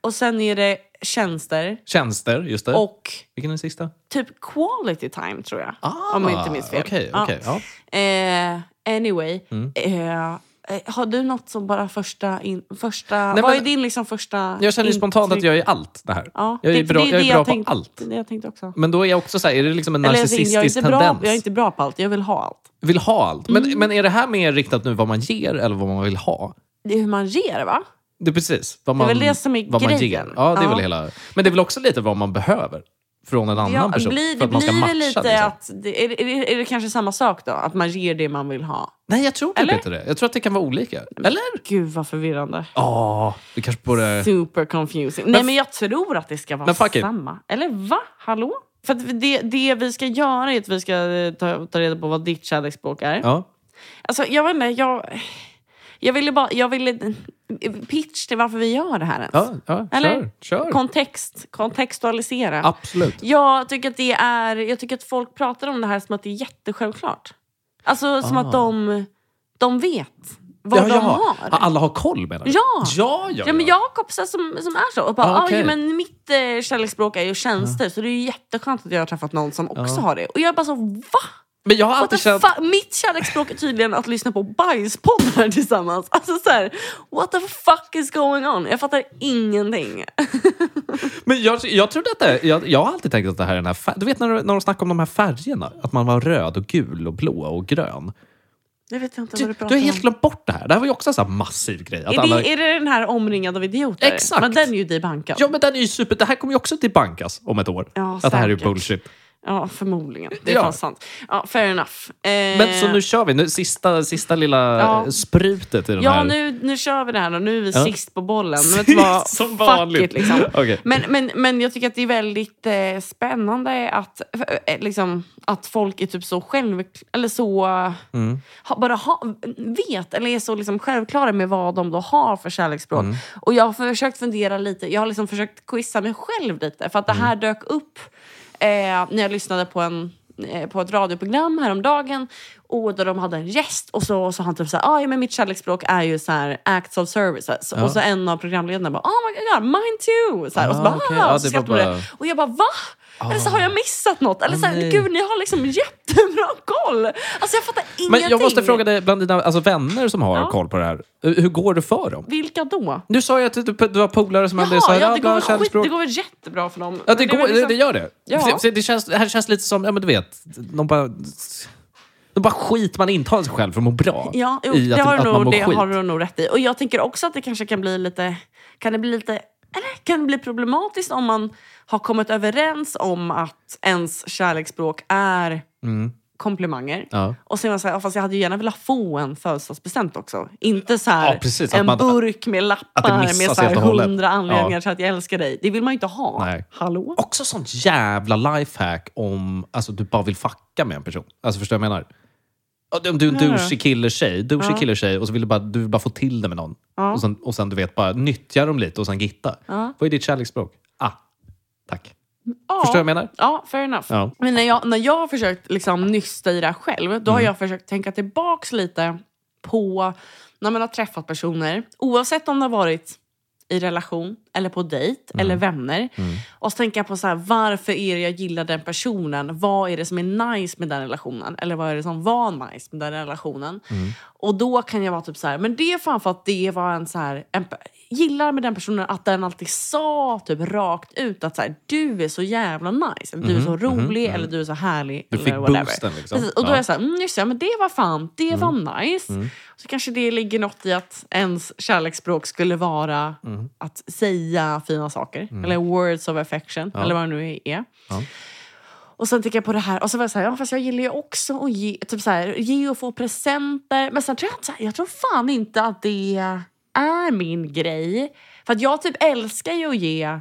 B: Och sen är det tjänster
A: Tjänster, just det.
B: och
A: Vilken är den sista?
B: typ quality time, tror jag. om jag inte minns fel.
A: Ah, Okej,
B: Ja.
A: okej, ja.
B: Eh, anyway.
A: Mm.
B: Eh, eh, har du något som bara första... In, första
A: Nej,
B: vad
A: men-
B: är din liksom första...
A: Jag känner ju spontant att
B: intryck?
A: jag är allt det här.
B: typ. Ja,
A: jag är bra- jag är
B: det
A: bra på
B: tänkte,
A: allt.
B: Det är det jag tänkte också.
A: Men då är jag också så här, är det liksom en
B: Eller jag, tänkte, jag, är
A: narcissistisk
B: inte bra,
A: tendens?
B: jag är inte Mm. bra på allt, jag vill ha allt.
A: Vill ha allt. Men, men är det här mer riktat nu vad man ger eller vad man vill ha?
B: Det är hur man ger, va?
A: Det är precis. Vad
B: Det är
A: man,
B: väl det som är
A: vad man
B: grejen.
A: ger. Ja, det är
B: Ja.
A: väl hela... Men det är väl också lite vad man behöver från en annan
B: Ja,
A: person.
B: blir,
A: för
B: det
A: att man ska
B: blir
A: matcha.
B: väl lite
A: liksom.
B: att... Det, är, det- är, det- är det kanske samma sak då? Att man ger det man vill ha?
A: Nej, jag tror typ
B: Eller?
A: inte det. Jag tror att det kan vara olika. Eller?
B: Gud vad förvirrande.
A: Ja, vi kanske borde...
B: Super confusing. Nej, men jag tror att det ska vara
A: Eh. Men fuck it.
B: samma. Eller va? Hallå? För att det, det vi ska göra är att vi ska eh, ta, ta reda på vad ditt kärleksspråk är.
A: Ja.
B: Alltså, jag vet inte, jag... Jag ville bara... Jag ville... eh, Pitch till varför vi gör det här ens.
A: Ja, ja
B: Eller?
A: kör. kör.
B: Kontext. Kontextualisera.
A: Absolut.
B: Jag tycker, att det är, jag tycker att folk pratar om det här som att det är jättesjälvklart. Alltså som
A: Ah.
B: att de, de vet vad de har.
A: Ja, Alla har koll menar du?
B: Ja.
A: Ja, ja,
B: Ja, men jag har kompisar som, som är så. Och bara,
A: Ah,
B: ah,
A: okej.
B: ja, men mitt eh, kärleksspråk är ju tjänster, så det är ju jätteskönt att jag har träffat någon som också
A: Ja.
B: har det. Och jag bara så, va?
A: Men jag har
B: What the
A: alltid känt...
B: fa- mitt kärleksspråk är tydligen att lyssna på bajspoddar tillsammans. Alltså så här, what the fuck is going on? Jag fattar ingenting.
A: Men jag, jag trodde att det... Jag, jag har alltid tänkt att det här är den här färgen. Du vet när, när de snackar om de här färgerna? Att man var röd och gul och blå och grön.
B: Jag vet inte
A: Du,
B: vad du
A: du
B: pratar
A: har helt
B: om.
A: glömt bort det här. Det här var ju också en sån här massiv grej. Att
B: Är
A: alla,
B: det, är det den här omringad av idioter?
A: Exakt.
B: Men den är ju debankad.
A: Ja, men den är ju super... Det här kommer ju också debankas om ett år.
B: Ja,
A: att det här är ju
B: säkert.
A: bullshit.
B: Ja, förmodligen. Det är
A: Ja.
B: fan sant. Ja, fair enough. Eh,
A: Men så nu kör vi. Nu, sista, sista lilla eh,
B: Ja.
A: sprutet i den
B: Ja,
A: här...
B: nu, nu kör vi det här då. Nu är vi
A: Ja.
B: sist på bollen. Men vet du vad?
A: Som
B: Fuck
A: vanligt.
B: it, liksom.
A: Okej.
B: men, men, men jag tycker att det är väldigt eh, spännande att, eh, liksom, att folk är typ så själv... Eller så... eh,
A: Mm.
B: ha, bara ha, vet eller är så liksom självklara med vad de då har för kärleksspråk.
A: Mm.
B: Och jag har försökt fundera lite. Jag har liksom försökt quizza mig själv lite. För att det
A: Mm.
B: här dök upp eh, när jag lyssnade på en eh, på ett radioprogram häromdagen och där de hade en gäst och så sa han typ såhär, ah, ja men mitt kärleksspråk är ju så här acts of services.
A: Ja.
B: Och så en av programledarna bara, oh my god, mine too! Så här, och så
A: Ah,
B: bara,
A: okej.
B: "Ah",
A: Ja,
B: och så
A: det var
B: skrattade de
A: bara-
B: det. Och jag bara, va? Eller så har jag missat något? Eller
A: Ah,
B: så här,
A: nej.
B: gud ni har liksom jättebra koll! Alltså jag fattar ingenting!
A: Men jag måste fråga dig, bland dina alltså, vänner som har
B: Ja.
A: koll på det här, hur hur går det för dem?
B: Vilka då?
A: Du sa ju att du, du har polare som hade
B: Jaha,
A: så här,
B: ja,
A: ja,
B: det, går
A: bra
B: väl skit,
A: kärleksspråk.
B: det går väl jättebra för dem?
A: Ja, det,
B: Men är
A: går,
B: väl liksom-
A: det, det gör det.
B: Ja.
A: Det, det, känns, det här känns lite som, ja men du vet, de bara... De bara skit man intalar sig själv för att må bra.
B: Ja, jo,
A: i
B: det,
A: att,
B: har,
A: att
B: du
A: man
B: nog,
A: mår
B: det
A: skit.
B: har du nog rätt i. Och jag tänker också att det kanske kan bli lite... Kan det bli lite... Eller kan det bli problematiskt om man har kommit överens om att ens kärleksspråk är
A: Mm,
B: komplimanger?
A: ja.
B: Och sen var jag så här, "Ja, fast jag hade ju gärna velat få en födelsedagspresent också. Inte så här
A: Ja, precis, att
B: en
A: man-
B: burk med lappar med
A: missas
B: så här
A: helt och hållet.
B: hundra anledningar
A: Ja.
B: till att jag älskar dig. Det vill man ju inte ha.
A: Nej.
B: Hallå?
A: Också sånt jävla lifehack om alltså, du bara vill fucka med en person. Alltså förstår du vad jag menar? Ja, Om du är en
B: Ja, ja.
A: douchey kille-tjej, douchey
B: Ja.
A: kille-tjej och så vill du bara, du vill bara få till det med någon.
B: Ja.
A: Och, sen, och sen du vet, bara nyttja dem lite och sen gitta.
B: Ja.
A: Vad är ditt kärleksspråk? Ah, tack.
B: Ja.
A: Förstår du vad jag menar?
B: Ja, fair enough.
A: Ja.
B: Men när jag, när jag har försökt liksom nysta i det här själv, då har jag försökt tänka tillbaks lite på när man har träffat personer, oavsett om det har varit i relation, eller på dejt,
A: Mm.
B: eller vänner. Och så tänker jag på så här, varför är det jag gillar den
A: Mm.
B: personen? Vad är det som är nice med den relationen? Eller vad är det som var nice med den relationen? Och då kan jag vara typ så här, men det är fan för att det var en så här, en, pe- gillar med den personen att den alltid sa typ rakt ut att så här, du är så jävla nice, eller du är så rolig, eller du är så härlig.
A: Mm-hmm. Du
B: eller
A: fick
B: whatever.
A: boosten, liksom.
B: Precis. Och då
A: Ja.
B: är jag så här, mm, just det, men det var fan, det var nice. Så kanske det ligger något i att ens kärleksspråk skulle vara att säga fina saker, eller words of affection, eller vad det nu är.
A: Ja.
B: Och sen tänker jag på det här, och så var jag så här, ja, fast jag gillar ju också att ge, typ så här, ge och få presenter. Men sen tror jag, inte så här, jag tror fan inte att det är min grej. För att jag typ älskar ju att ge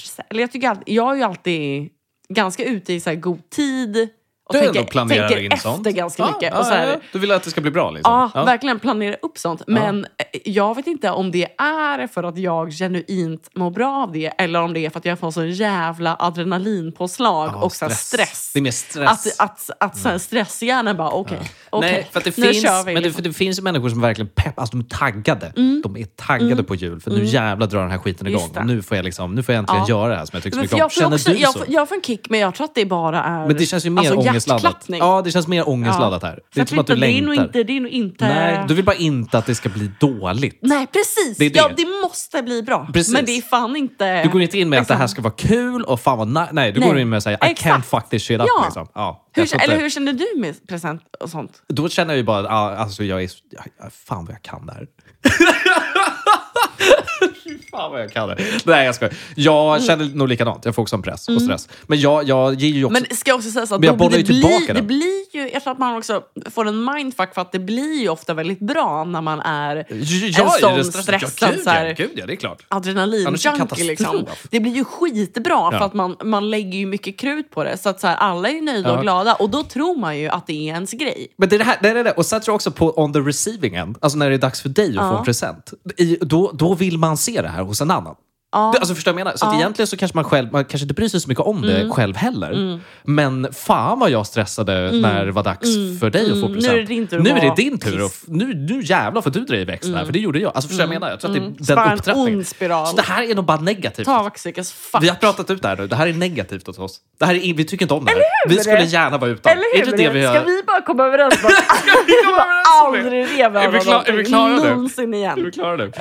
B: presen- Eller jag, tycker all, jag är ju alltid ganska ute i så här god tid. Och
A: Du
B: tänker,
A: ändå planerar
B: tänker
A: in
B: efter
A: sånt.
B: ganska
A: Ja,
B: mycket.
A: ja,
B: och så här,
A: ja, ja. Du vill att det ska bli bra liksom?
B: Ja, verkligen planera upp sånt. Men eh, jag vet inte om det är för att jag genuint mår bra av det eller om det är för att jag får sån jävla adrenalinpåslag
A: Ja,
B: och så här stress.
A: Det är mer stress. Mm.
B: Att, att, att så här stresshjärnan bara, okej, okej,
A: Nej, för att det
B: nu
A: finns,
B: kör vi.
A: men det, för
B: liksom.
A: det
B: Mm.
A: finns ju människor som verkligen pepp, alltså de är taggade. De är taggade på jul. För nu jävlar drar den här skiten
B: Just
A: igång.
B: det.
A: Och nu får jag, liksom, nu får jag äntligen
B: Ja.
A: göra det här som jag tycker så
B: Men
A: mycket
B: för
A: om.
B: jag, får
A: Känner
B: också,
A: du
B: jag,
A: så?
B: får, jag får en kick, men jag tror att det bara är
A: men det känns ju mer
B: alltså,
A: ångestladdat.
B: hjärtklappning.
A: Ja, det känns mer ångestladdat här. Det är som att du
B: det är
A: längtar.
B: nog inte... Det är nog inte
A: Nej, du vill bara inte att det ska bli dåligt.
B: Nej, precis.
A: Det är det.
B: Ja, det måste bli bra.
A: Precis.
B: Men det är fan inte...
A: Du går inte in med att det
B: liksom-
A: här ska vara kul och fan vad ni- Nej, du
B: Nej.
A: går in med att säga I
B: Exakt.
A: can't fuck this shit up.
B: Ja.
A: Liksom. Ja, jag tror
B: hur,
A: inte-
B: eller hur känner du med present och sånt?
A: Då känner jag ju bara att ah, alltså, jag är... ah, Fan vad jag kan det här. Fy fan vad jag kan det. Nej, jag skojar. Jag
B: Mm.
A: känner nog likadant. Jag får också en press och stress. Men jag, jag ger ju också...
B: Men ska jag också säga så att
A: Men jag
B: då,
A: bollar
B: det,
A: ju tillbaka
B: blir, det
A: den.
B: blir ju, jag tror att man också får en mindfuck för att det blir ju ofta väldigt bra när man är
A: jag
B: en
A: är ju
B: sån
A: den stressade.
B: stressad
A: ja, gud,
B: så
A: ja,
B: här,
A: gud ja, det är klart. Annars är det
B: adrenalinjunkie.
A: katastrof.
B: Liksom. Det blir ju skitbra för
A: Ja.
B: att man, man lägger ju mycket krut på det. Så att så här, alla är nöjda
A: Ja.
B: och glada och då tror man ju att det är ens grej.
A: Men det är det här, det är det. Och sen tror jag också på on the receiving end, alltså när det är dags för dig att få en present. I, då, då vill man se det här hos en annan. Det, alltså förstår du vad jag menar? Så att egentligen så kanske man själv, man kanske inte bryr sig så mycket om det
B: Mm.
A: själv heller. Men fan vad jag stressade när det var dags för dig att få
B: Mm. nu
A: present.
B: är det din tur att
A: Nu är det
B: vara Mm.
A: din tur.
B: piss.
A: Och f- nu, nu jävlar får du dra i växeln här, för det gjorde jag. Alltså förstår du vad jag menar? Jag tror att det är
B: Bara
A: den
B: Mm. en
A: upptrappningen.
B: ond spiral.
A: Så det här är nog bara negativt.
B: Toxic as fuck.
A: Vi har pratat ut det här nu. Det här är negativt åt oss. Det här är, in- vi tycker inte om det här. Vi skulle gärna vara utan.
B: Eller
A: Är
B: hur?
A: det det vi
B: Ska
A: har...
B: vi bara komma överens om att aldrig leva
A: Är vi klar- är vi klara nu?
B: någonsin
A: Är vi
B: igen?
A: klara nu?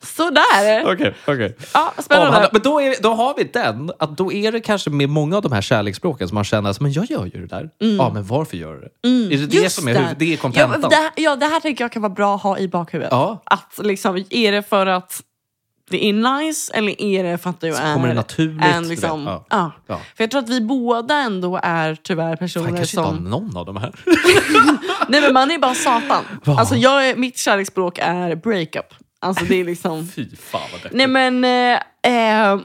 B: Sådär.
A: Okej, okej.
B: Ja,
A: Avhandla-
B: spännande.
A: Men då, är, då har vi den, att då är det kanske med många av de här kärleksspråken som man känner att men jag gör ju det där. Ja, men varför gör du det? Är det det
B: Mm. Just
A: som är, huvud- det är kontentan?
B: Ja, det, ja, det här tänker jag kan vara bra att ha i bakhuvudet.
A: Ja.
B: Att liksom, är det för att det är nice eller är det för att du är
A: kommer det naturligt,
B: en
A: du
B: liksom,
A: vet. Ja.
B: ja.
A: Ja.
B: För jag tror att vi båda ändå är tyvärr
A: Han
B: personer
A: kanske inte har
B: som...
A: någon av de här.
B: Nej men man är bara satan.
A: Va?
B: Alltså jag är, mitt kärleksspråk är breakup. Alltså det är liksom...
A: Fy fan vad deppigt.
B: Nej men... Eh, eh,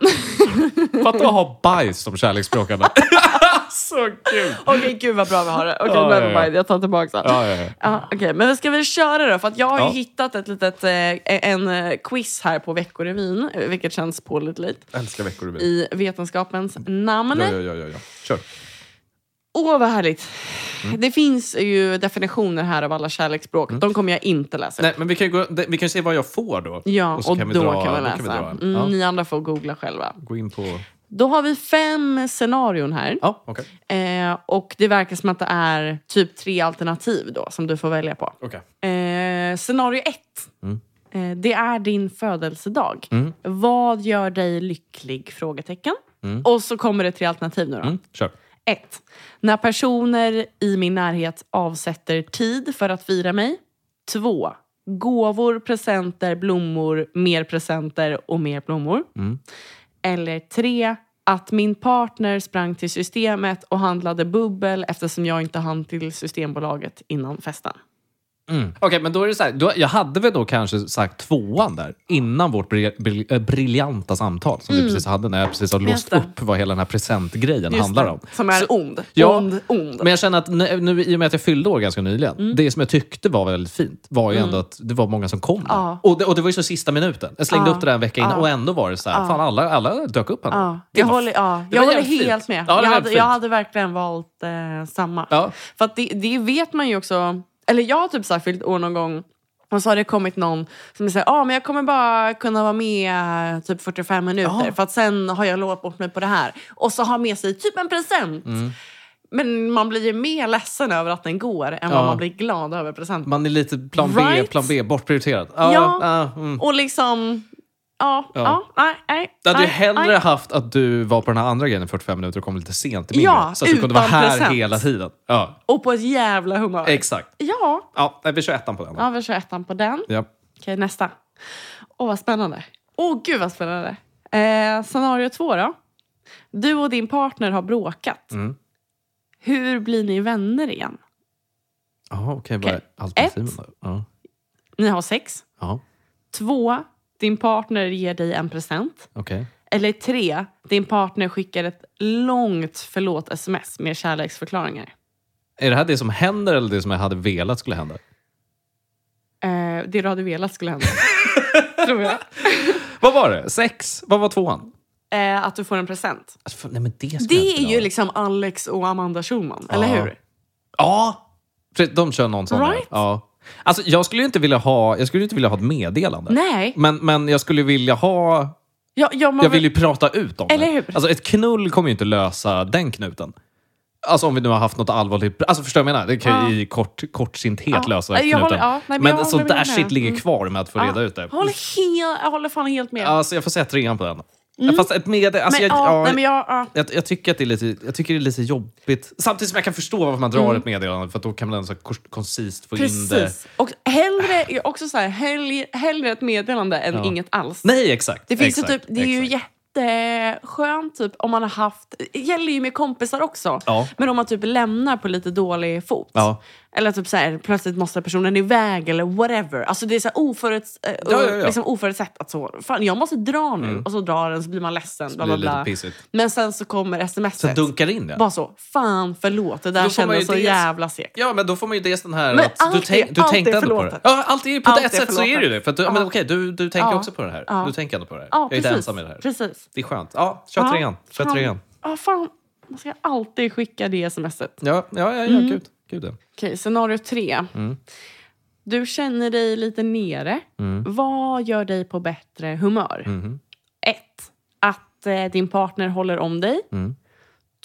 A: Fatta att ha bajs som kärleksspråkande. Så kul!
B: Okej gud vad bra vi har det. Okej
A: Ja, ja,
B: never
A: ja.
B: mind, jag tar tillbaka det.
A: Ja, ja, ja.
B: Ja, okej. Men ska vi köra då? För att jag har ju
A: Ja.
B: hittat ett litet, eh, en eh, quiz här på Veckorevyn, eh, vilket känns pålitligt,
A: Älskar veckorevyn.
B: i vetenskapens namn.
A: Ja, ja, ja, ja, ja. Kör.
B: Åh, vad härligt.
A: Mm.
B: Det finns ju definitioner här av alla kärleksspråk. De kommer jag inte läsa.
A: Nej, men vi kan ju gå, vi kan ju se vad jag får då.
B: Ja, och,
A: så
B: då,
A: dra-
B: kan vi
A: då
B: läsa.
A: dra en.
B: mm,
A: Ja.
B: Ni andra får googla själva.
A: Gå in på...
B: Då har vi fem scenarion här.
A: Ja, okej.
B: Eh, och det verkar som att det är typ tre alternativ då, som du får välja på.
A: Okej.
B: Eh, scenario ett. Eh, det är din födelsedag. Vad gör dig lycklig? Frågetecken. Och så kommer det tre alternativ nu då.
A: Mm, kör.
B: Ett. När personer i min närhet avsätter tid för att fira mig. Två. Gåvor, presenter, blommor, mer presenter och mer blommor. Eller tre. Att min partner sprang till systemet och handlade bubbel eftersom jag inte hann till Systembolaget innan festen.
A: Mm. Okej, men då är det så här. Då, jag hade väl då kanske sagt tvåan där innan vårt bri, bri, eh, briljanta samtal som vi precis hade när jag precis har låst
B: Mm. Just det.
A: upp vad hela den här presentgrejen
B: Just
A: handlar
B: det,
A: om.
B: Som är ond.
A: Ja,
B: ond, ond. Mm.
A: Men jag känner att nu, nu, i och med att jag fyllde år ganska nyligen, det som jag tyckte var väldigt fint var ju ändå att det var många som kom.
B: Ja.
A: Och, det, och det var ju så sista minuten. Jag slängde upp det där en vecka innan och ändå var det så här, fan alla, alla dök upp ändå.
B: Ja,
A: Det
B: jag
A: var-
B: håller, ja,
A: det
B: jag
A: var
B: håller
A: jävligt
B: helt
A: fint.
B: med.
A: Ja, det var
B: jag, hade,
A: jävligt
B: jag
A: fint.
B: hade verkligen valt eh, samma.
A: Ja.
B: För att det, det vet man ju också. Eller jag har typ så här fyllt år någon gång och så har det kommit någon som säger ah, men jag kommer bara kunna vara med eh, typ
A: Ah. Mm.
B: 45 minuter för att sen har jag lovat bort mig på det här. Och så har med sig typ en present. Men man blir ju mer ledsen över att den går än
A: Ja.
B: vad man blir glad över presenten.
A: Man är lite plan B,
B: Right?
A: plan B, bortprioriterad.
B: Ja.
A: ja, mm.
B: Och liksom... Ja,
A: Ja.
B: ja, nej, nej.
A: Jag hade ju
B: nej,
A: hellre
B: nej.
A: haft att du var på den här andra grejen i 45 minuter och kom lite sent till min
B: Ja,
A: grej, Så att du kunde vara
B: utan
A: här
B: present.
A: hela tiden. Ja,
B: Och på ett jävla humör.
A: exakt.
B: ja,
A: Ja, nej, vi kör ettan på den. då.
B: ja, vi kör ettan på den.
A: Ja.
B: Okej, nästa. Åh, vad spännande. Åh, gud vad spännande. Eh, scenario två då. Du och din partner har bråkat.
A: Mm.
B: Hur blir ni vänner igen?
A: Jaha, okej. Vad är
B: Okej.
A: alternativen då? Ja.
B: Ni har sex.
A: ja,
B: Två, din partner ger dig en present.
A: okej.
B: Eller tre, din partner skickar ett långt förlåt-sms med kärleksförklaringar.
A: Är det här det som händer eller det som jag hade velat skulle hända?
B: Eh, det du hade velat skulle hända. tror jag.
A: Vad var det? Sex? Vad var tvåan?
B: Eh, att du får en present.
A: Alltså, för, nej, men det skulle jag
B: Det
A: inte
B: är
A: vilja
B: ju
A: ha.
B: liksom Alex och Amanda Schulman, eller
A: Ja.
B: hur?
A: Ja! Pre- De kör någon sån där.
B: Right?
A: Ja. Alltså, jag skulle ju inte vilja ha, jag skulle ju inte vilja ha ett meddelande.
B: Nej.
A: Men, men jag skulle vilja ha...
B: Ja, ja, man
A: Jag vill ju prata ut om
B: Eller
A: det.
B: hur?
A: Alltså, ett knull kommer ju inte lösa den knuten. Alltså om vi nu har haft något allvarligt... Alltså förstår du vad jag menar? Det kan ju i kort, kortsinthet
B: Ja.
A: lösa
B: Jag
A: knuten.
B: håller- ja, nej, men
A: men
B: jag
A: sånt
B: håller
A: där
B: med. Mm.
A: shit ligger kvar med att få
B: Ja.
A: reda ut det.
B: Jag håller, helt, jag håller fan helt med.
A: Alltså jag får säga trean på den. Fast ett med... Alltså,
B: Mm. men,
A: jag,
B: ja,
A: ja,
B: nej, men jag, ja.
A: jag, jag, tycker att det är lite, jag tycker det är lite jobbigt. Samtidigt som jag kan förstå varför man drar ett meddelande för att då kan man ändå så här kors- koncist få in det.
B: Mm. Precis. Och hellre, jag är också så här, hellre, hellre ett meddelande än inget alls.
A: Nej, exakt.
B: det finns
A: exakt,
B: ju typ, det är ju
A: exakt.
B: jätteskönt typ, om man har haft... Det gäller ju med kompisar också.
A: Ja.
B: Men om man typ lämnar på lite dålig fot.
A: Ja.
B: Eller typ så här, plötsligt måste personen iväg eller whatever. Alltså det är så här oföruts, eh,
A: Ja, ja, ja.
B: Liksom oförutsett att så, fan jag måste dra nu. Och så drar den så blir man ledsen. Bla,
A: blir det
B: bla,
A: lite
B: bla.
A: pissigt.
B: Men sen så kommer sms.
A: Sen dunkar det in det.
B: Bara så, fan förlåt, det där
A: Då får man ju
B: kändes så
A: dels-
B: jävla segt.
A: Ja, men då får man ju dels den här
B: Men
A: att du,
B: allt
A: tänk,
B: är-
A: du
B: allt
A: tänkte
B: är
A: ändå på det.
B: förlåtet.
A: Ja, allt är, på
B: Allt
A: ett
B: är
A: sätt så är det ju
B: förlåtet.
A: det. För att, du-
B: Ja.
A: men okej, du, du tänker
B: Ja.
A: också på det här.
B: Ja.
A: Du tänker ändå på det här.
B: Ja,
A: jag är inte
B: precis.
A: ensam i det här.
B: Precis.
A: Det är skönt. Ja, kör
B: Ja,
A: trean. Kör
B: fan.
A: trean.
B: Ja, fan. Man ska alltid skicka det smset.
A: Ja, ja, ja, ja
B: Mm.
A: gud. gud ja.
B: Okej, scenario tre. Du känner dig lite nere. Vad gör dig på bättre humör? Ett, att eh, din partner håller om dig.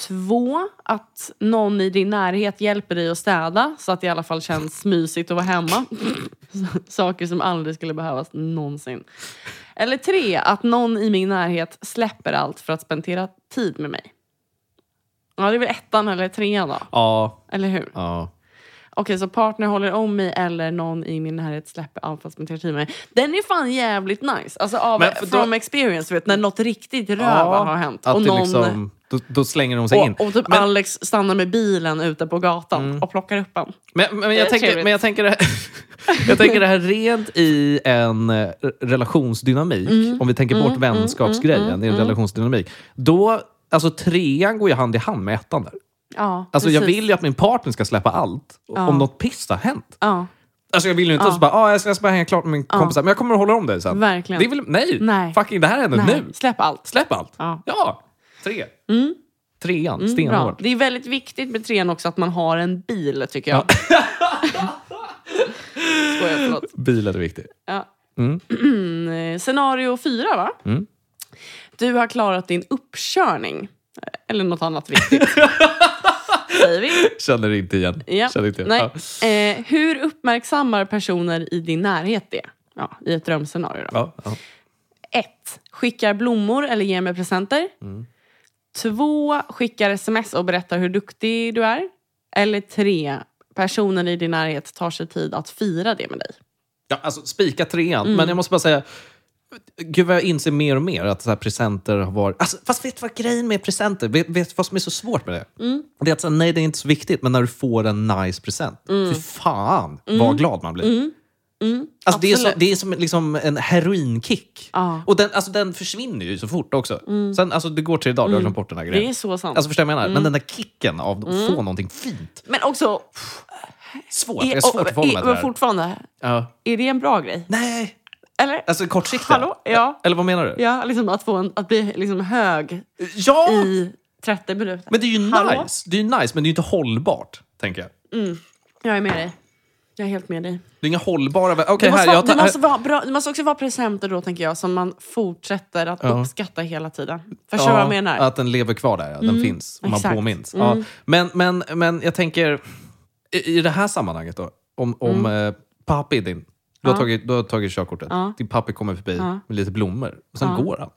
B: Två, att någon i din närhet hjälper dig att städa så att det i alla fall känns mysigt att vara hemma. Saker som aldrig skulle behövas någonsin. Eller tre, att någon i min närhet släpper allt för att spendera tid med mig. Ja, det är väl ettan eller trean då?
A: Ja,
B: Eller hur?
A: ja.
B: Okej, så partner håller om mig eller någon i min närhet släpper allt fast med mig. Den är fan jävligt nice. Alltså av
A: Men för då-
B: from experience, vet, när något riktigt röva har hänt.
A: Att
B: Och,
A: det
B: någon,
A: liksom, då, då slänger de sig in.
B: och, och typ
A: Men- Mm.
B: Alex stannar med bilen ute på gatan och plockar upp en.
A: Men, men,
B: Det
A: jag
B: är
A: tänker,
B: trevligt.
A: men jag tänker det här, jag tänker det här rent i en eh, relationsdynamik,
B: Mm.
A: om vi tänker bort vänskapsgrejen i en relationsdynamik. Då, alltså trean går ju hand i hand med ettan där.
B: Ja,
A: Alltså jag
B: precis.
A: vill ju att min partner ska släppa allt om något piss har hänt.
B: Ja,
A: Alltså jag vill ju inte så bara, ah, jag ska jag ska bara hänga klart med min kompis här, men jag kommer att hålla om dig sen.
B: Verkligen.
A: Det är väl, nej,
B: Nej.
A: fucking det här händer
B: nej,
A: nu.
B: släpp allt.
A: Släpp allt.
B: Ja. Mm.
A: tre. Trean,
B: Bra.
A: stenhårt.
B: Det är väldigt viktigt med trean också att man har en bil, tycker jag. Skojar, förlåt.
A: Bilen är viktig.
B: Ja.
A: Mm.
B: Eh, Scenario fyra, va? Du har klarat din uppkörning. Eller något annat viktigt. Säger vi.
A: Känner inte igen.
B: Ja.
A: Känner inte igen.
B: Nej.
A: Ja.
B: Eh, hur uppmärksammar personer i din närhet det? Ja, I ett drömscenario. Då.
A: Ja, ja.
B: Ett, Skickar blommor eller ger mig presenter.
A: Mm.
B: Två, Skickar sms och berättar hur duktig du är. Eller tre, Personer i din närhet tar sig tid att fira det med dig.
A: Ja, alltså spika trean,
B: Mm.
A: men jag måste bara säga Gud vad jag inser mer och mer att så här presenter har varit... Alltså, fast vet du vad grejen med presenter? Vet, vet du vad som är så svårt med det?
B: Mm.
A: Det är att så här, nej, det är inte så viktigt, men när du får en nice present,
B: Mm.
A: fy fan vad glad man blir. Alltså, det, är så,
B: absolut.
A: det är som liksom en heroinkick.
B: Ja. Mm.
A: Och den, alltså, den försvinner ju så fort också. Sen, alltså, det går tre dagar, jag har glömt bort den här
B: Det
A: grejen.
B: är så Mm. sant.
A: Alltså, förstår du vad jag menar? Men den där kicken av att få någonting fint.
B: Men också... E-
A: Svårt. Jag är svårt att förhålla mig
B: är,
A: till det
B: men
A: här.
B: fortfarande,
A: Ja.
B: är det en bra grej?
A: Nej,
B: Eller?
A: alltså kortsiktigt.
B: Hallå? Ja.
A: Eller vad menar du?
B: Ja, liksom att, få en, att bli liksom hög
A: Ja!
B: i 30 minuter.
A: Men det är ju
B: Hallå?
A: nice. Det är ju nice, men det är ju inte hållbart, tänker jag.
B: Jag är med dig. Jag är helt med dig.
A: Det är inga hållbara... Okej,
B: Det måste,
A: här.
B: vara,
A: jag tar-
B: det, måste vara bra, det måste också vara presenter då, tänker jag, som man fortsätter att
A: Ja.
B: uppskatta hela tiden.
A: Ja,
B: Förstår du vad jag menar? Mm,
A: Att den lever kvar där, ja. den finns. Och man
B: exakt. Mm.
A: påminns. Ja. Men, men, men jag tänker, i, i det här sammanhanget då, om, om eh, pappi din, du har, tagit, du har tagit körkortet,
B: Mm. Ja.
A: din pappi kommer förbi med lite blommor och sen går han.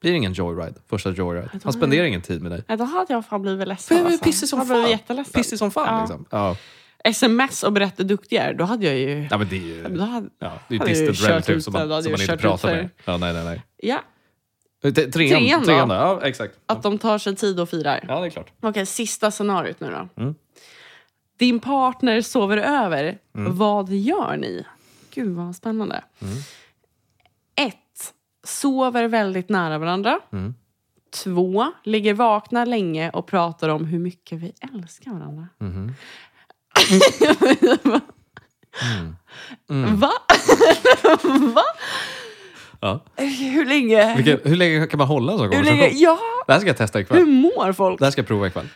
A: Blir ingen joyride, första joyride. Han spenderar ingen tid med dig.
B: Ja, då hade jag fan blivit ledsen.
A: Jag blev
B: alltså.
A: pissig som
B: jag blev
A: fan.
B: jätteledsen.
A: Pissig som fan
B: Ja.
A: liksom. Ja.
B: Sms och berätta hur duktig jag är, då hade jag ju...
A: Ja, men det är ju,
B: Då hade,
A: ja, det är ju
B: hade jag ju
A: distant
B: kört
A: relative
B: ut
A: som
B: den, då
A: man,
B: hade
A: som
B: jag
A: man inte
B: kört
A: pratar
B: ut
A: med. Ja, nej, nej, nej.
B: ja,
A: Eh, te- Trean,
B: Trean
A: trean,
B: då?
A: då? Ja, exakt.
B: att de tar sig tid och firar.
A: Ja, det är klart.
B: Okej, sista scenariot nu då.
A: Mm.
B: Din partner sover över.
A: Mm.
B: Vad gör ni? Gud vad spännande. Ett, Sover väldigt nära varandra.
A: Mm.
B: Två, Ligger vakna länge och pratar om hur mycket vi älskar varandra.
A: Mhm. Mm.
B: Va? Va?
A: Ja.
B: Hur länge?
A: Vilken, hur länge kan man hålla en sån
B: hur länge?
A: konversation?
B: Ja,
A: Det här ska jag testa
B: hur
A: ikväll.
B: mår folk?
A: Det här ska jag prova ikväll.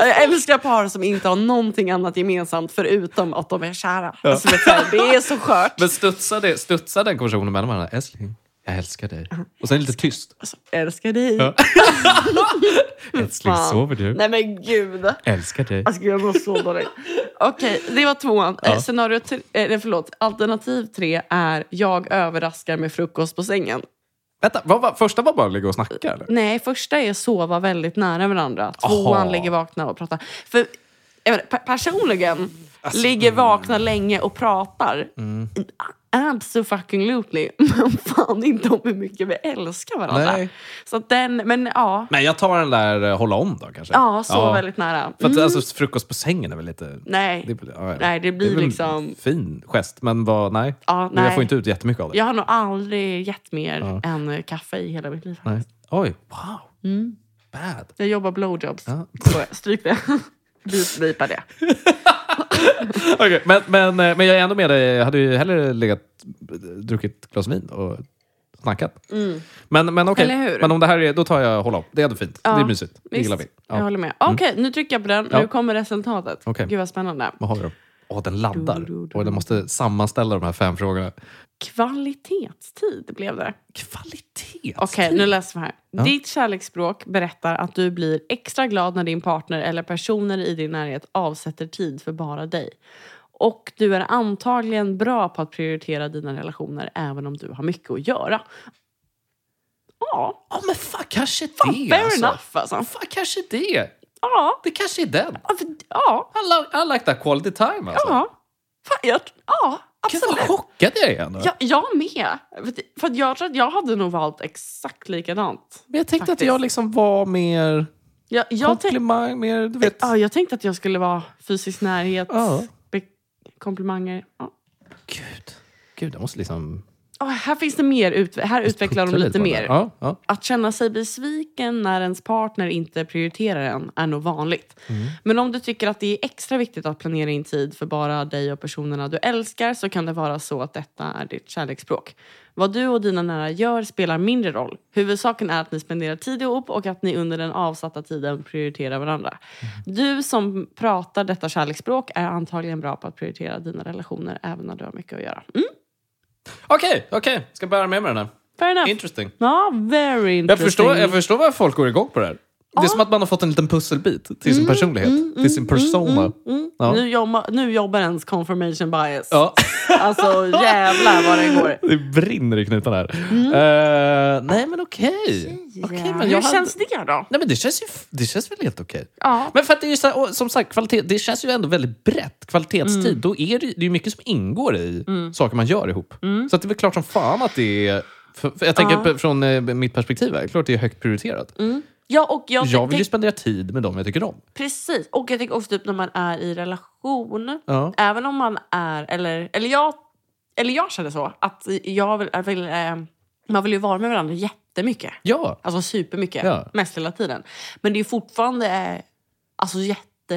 B: Jag älskar par som inte har någonting annat gemensamt förutom att de är kära. Alltså, det är så här, det är så skört.
A: Men studsar, det, studsar den konversationen mellan varandra? Älskling, jag älskar dig. Och sen lite tyst.
B: Alltså, älskar dig.
A: Ja. Älskling,
B: Fan.
A: sover du?
B: Nej men gud.
A: Älskar dig.
B: Alltså gud, jag mår så dåligt. Okej, det var tvåan.
A: Ja.
B: Eh, Scenario tre, eh, förlåt. Alternativ tre är jag överraskar med frukost på sängen.
A: Vänta, vad var, första var bara att ligga och snacka eller?
B: Nej, första är sova väldigt nära varandra. Tvåan
A: Aha.
B: ligger vakna och pratar. För jag menar, pe- personligen
A: Alltså, mm.
B: ligger vakna länge och pratar. Absolutely. Men fan inte om hur mycket vi älskar varandra.
A: Nej.
B: Så att den, men ja.
A: Nej, jag tar den där eh, hålla om då kanske.
B: Ja, sov väldigt nära.
A: För att,
B: Mm.
A: alltså, frukost på sängen är väl lite...
B: Nej.
A: Det, är väl- ja, ja.
B: Nej, det blir
A: är väl en
B: liksom-
A: Fin gest, men vad, nej.
B: Ja,
A: Men Jag
B: nej.
A: får inte ut jättemycket av det.
B: Jag har nog aldrig gett mer än kaffe i hela mitt liv.
A: Nej. Oj, wow.
B: Mm.
A: Bad.
B: Jag jobbar blowjobs.
A: Ja.
B: Så stryk det. Beep, beepa det.
A: Okej, men, men, eh, men jag är ändå med dig. Jag hade ju hellre legat, druckit ett glas vin och snackat. Men, men okej,
B: Mm. Eller hur?
A: men om det här är, då tar jag hålla om. Det är ändå fint. Det är mysigt. Det gillar vi.
B: Visst, Jag
A: Ja. Mm.
B: håller med. Okej, nu trycker jag på den.
A: Ja.
B: Nu kommer resultatet.
A: Okej.
B: Gud vad spännande.
A: Vad har vi då? Åh, den laddar.
B: Du, du, du.
A: Och den måste sammanställa de här fem frågorna.
B: Kvalitetstid blev det.
A: Kvalitet!
B: Okej, nu läser vi här. Ditt kärleksspråk berättar att du blir extra glad när din partner eller personer i din närhet avsätter tid för bara dig. Och du är antagligen bra på att prioritera dina relationer även om du har mycket att göra. Ja,
A: Ja, men fan, kanske det.
B: fair
A: alltså.
B: enough alltså.
A: Fan, kanske det.
B: Ja,
A: Det kanske är den.
B: ja, för- ja,
A: I like, I like that quality time alltså.
B: ja. Fan, jag, ja
A: Gud, vad
B: absolut.
A: chockad jag är nu.
B: Ja, jag med. För att- För att jag tror att jag hade nog valt exakt likadant.
A: Men jag tänkte
B: Faktiskt.
A: att jag liksom var mer
B: Jag, jag, tänk,
A: komplimang, mer du vet.
B: ja, jag tänkte att jag skulle vara fysisk närhet,
A: Ja.
B: be, komplimanger. Ja.
A: Gud. Gud, jag måste liksom...
B: Åh, här finns det mer. Ut, här utvecklar de
A: puttla
B: lite
A: på den
B: mer.
A: där. Ja, ja.
B: Att känna sig besviken när ens partner inte prioriterar en är nog vanligt.
A: Mm.
B: Men om du tycker att det är extra viktigt att planera in tid för bara dig och personerna du älskar så kan det vara så att detta är ditt kärleksspråk. Vad du och dina nära gör spelar mindre roll. Huvudsaken är att ni spenderar tid ihop och att ni under den avsatta tiden prioriterar varandra.
A: Mm.
B: Du som pratar detta kärleksspråk är antagligen bra på att prioritera dina relationer även när du har mycket att göra. Mm,
A: Okej, okej. Ska bära med mig den här.
B: fair enough.
A: Interesting.
B: ja, very interesting.
A: Jag förstår, jag förstår varför folk går igång på det här. Det är som att man har fått en liten pusselbit till sin personlighet, till sin persona.
B: Mm.
A: Ja.
B: Nu, jobba, nu jobbar ens confirmation bias.
A: Ja,
B: Alltså jävlar vad det går.
A: det brinner i knutarna här. Eh, nej, men okej. Okej, men jag
B: Mm. Hur
A: hade-
B: känns det då?
A: Nej, men det känns, ju, f- det känns väl helt okej.
B: Ja.
A: Men för att det är ju så här, och som sagt, kvalitet, det känns ju ändå väldigt brett. Kvalitetstid, då är det, ju- det är ju mycket som ingår i saker man gör ihop. Så att det är väl klart som fan att det är... För, för jag tänker p- från eh, mitt perspektiv, här, klart det är högt prioriterat.
B: Ja, och jag,
A: Jag vill ju
B: tänk-
A: spendera tid med dem jag tycker om.
B: Precis. Och jag tänker också typ när man är i relation.
A: Ja.
B: Även om man är, eller, eller, jag, eller jag känner så, att jag vill, jag vill, eh, man vill ju vara med varandra jättemycket.
A: Ja,
B: Alltså supermycket.
A: Ja.
B: Mest hela tiden. Men det är fortfarande eh, alltså, jätte...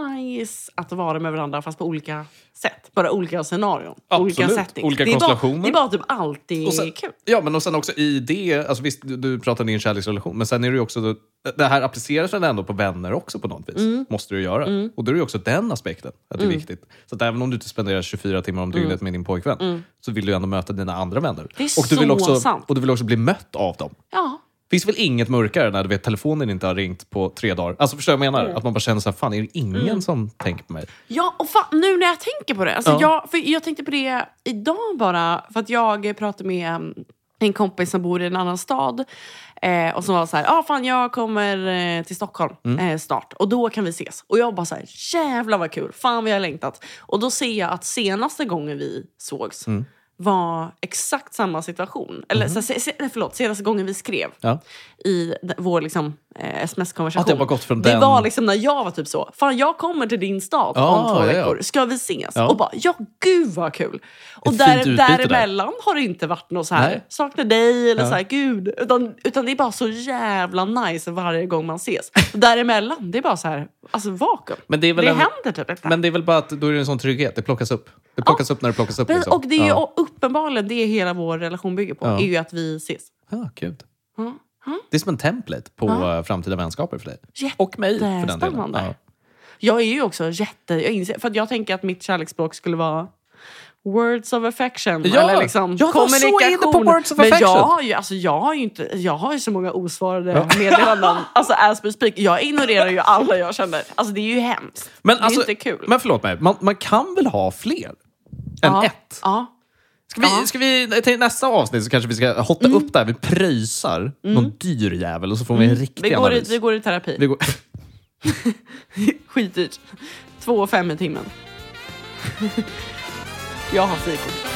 B: nice att vara med varandra fast på olika sätt. Bara olika scenarion.
A: Absolut.
B: Olika settings.
A: Olika
B: det är
A: konstellationer.
B: Bara, det är bara typ alltid
A: Och sen-
B: kul.
A: Ja, men och sen också i det, alltså visst du, du pratar om din kärleksrelation, men sen är det ju också, det här appliceras väl ändå på vänner också på något vis?
B: Mm.
A: Måste du göra. Och då är det ju också den aspekten, att det är viktigt. Så att även om du inte spenderar 24 timmar om dygnet med din pojkvän, så vill du ändå möta dina andra vänner.
B: Mm. Det är
A: och du vill
B: så
A: också,
B: sant.
A: Och du vill också bli mött av dem.
B: Ja.
A: Finns väl inget mörkare när du vet telefonen inte har ringt på tre dagar? Alltså förstår du vad jag
B: Mm.
A: menar? Att man bara känner så här, fan är det ingen som tänker på mig?
B: Ja, och fan, nu när jag tänker på det. Alltså
A: Ja.
B: jag, för jag tänkte på det idag bara, för att jag pratade med mm, en kompis som bor i en annan stad eh, och som var så här, ah, fan jag kommer eh, till Stockholm eh, snart och då kan vi ses. Och jag bara så här, jävlar vad kul, fan vi har längtat. Och då ser jag att senaste gången vi sågs var exakt samma situation. Eller så, se, se, nej, förlåt, senaste gången vi skrev
A: Ja.
B: i d- vår liksom, eh, sms-konversation.
A: Att det har bara gått från
B: det
A: den-
B: var liksom när jag var typ så, fan jag kommer till din stad
A: Ja,
B: om två
A: ja, ja.
B: veckor, ska vi ses?
A: Ja.
B: Och bara, ja gud vad kul! Och
A: Ett
B: där,
A: fint utbyte där.
B: däremellan har det inte varit något så här,
A: Nej.
B: saknar dig eller
A: Ja.
B: så här, gud. Utan, utan det är bara så jävla nice varje gång man ses. Och däremellan, det är bara så här, alltså vakuum.
A: Men det är väl en-
B: händer typ inte.
A: Men det är väl bara att då är det en sån trygghet, det plockas upp. Det plockas upp när det plockas upp.
B: Precis,
A: liksom.
B: och det är ju
A: ja.
B: uppenbarligen det hela vår relation bygger på,
A: Ja.
B: är ju att vi ses.
A: Ja, gud.
B: Mm.
A: Det är som en template på eh, framtida vänskaper för dig.
B: Jätte-
A: Och mig för den delen.
B: spännande. Jag är ju också jätte... Jag inser, för att jag tänker att mitt kärleksspråk skulle vara words of affection.
A: Ja,
B: eller liksom
A: jag var så inne på
B: kommunikation.
A: words of
B: Men
A: affection.
B: jag har ju, alltså, jag har ju inte, jag har ju så många osvarade meddelanden. Alltså as we speak. Jag ignorerar ju alla jag känner. Alltså det är ju hemskt.
A: Men,
B: det är ju
A: alltså,
B: inte kul.
A: men förlåt mig, man, man kan väl ha fler än
B: ja,
A: ett?
B: Ja.
A: Ska vi,
B: Ja. Mm.
A: ska vi, till nästa avsnitt så kanske vi ska hotta upp det här. Vi pröjsar någon dyr jävel och så får vi en riktig
B: Vi, går i,
A: analys.
B: vi går i terapi.
A: Vi går...
B: Skitdyrt. Två och fem i timmen. jag har frikort.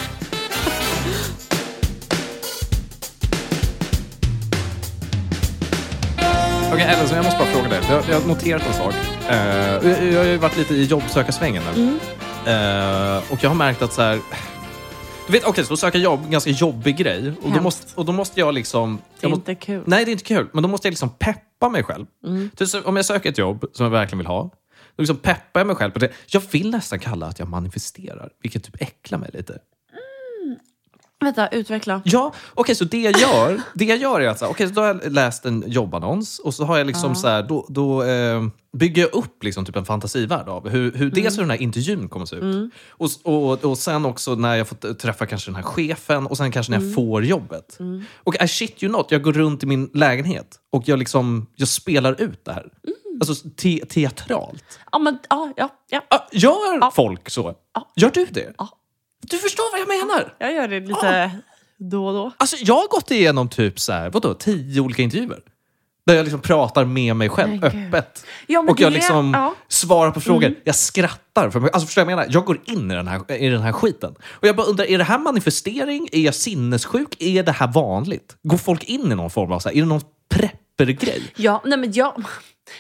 A: Okej, Ellen, så jag måste bara fråga dig. Jag, jag har noterat en sak. Eh, jag, jag har ju varit lite i jobbsökarsvängen nu.
B: Mm.
A: Eh, och jag har märkt att så här... Du vet, okej, så söka jobb, en ganska jobbig grej. Och då,
B: Hemskt.
A: måste, och då måste jag liksom...
B: Det
A: jag
B: är
A: må-
B: inte Mm. kul.
A: Nej, det är inte kul. Men då måste jag liksom peppa mig själv. Typ så om jag söker ett jobb som jag verkligen vill ha, då liksom peppar jag mig själv på det. Jag vill nästan kalla att jag manifesterar, vilket typ äcklar mig lite.
B: Vänta, utveckla.
A: Ja, okej, så det jag gör, det jag gör är att så här, okej, så då har jag läst en jobbannons och så har jag liksom så här, då, då eh, bygger jag upp liksom typ en fantasivärld av hur, hur
B: Mm.
A: dels hur den här intervjun kommer se ut och, s- och, och sen också när jag får träffa kanske den här chefen och sen kanske
B: Mm.
A: när jag får jobbet. Och I shit you not, jag går runt i min lägenhet och jag liksom, jag spelar ut det här.
B: Mm.
A: Alltså te, teatralt.
B: Ja, men, ja, ja, ja.
A: Ah, Gör folk så? Gör du det?
B: Ja.
A: Du förstår vad jag menar?
B: Jag gör det lite då och då.
A: Alltså, jag har gått igenom typ så här, vadå, tio olika intervjuer. Där jag liksom pratar med mig själv
B: Men gud.
A: öppet.
B: Ja, men
A: och jag
B: det-
A: liksom
B: ja. Mm.
A: svarar på frågor. Jag skrattar. För mig. Alltså, förstår du vad jag menar? Jag går in i den, här, i den här skiten. Och jag bara undrar, är det här manifestering? Är jag sinnessjuk? Är det här vanligt? Går folk in i någon form av, så här, är det någon preppergrej?
B: Ja, nej men jag,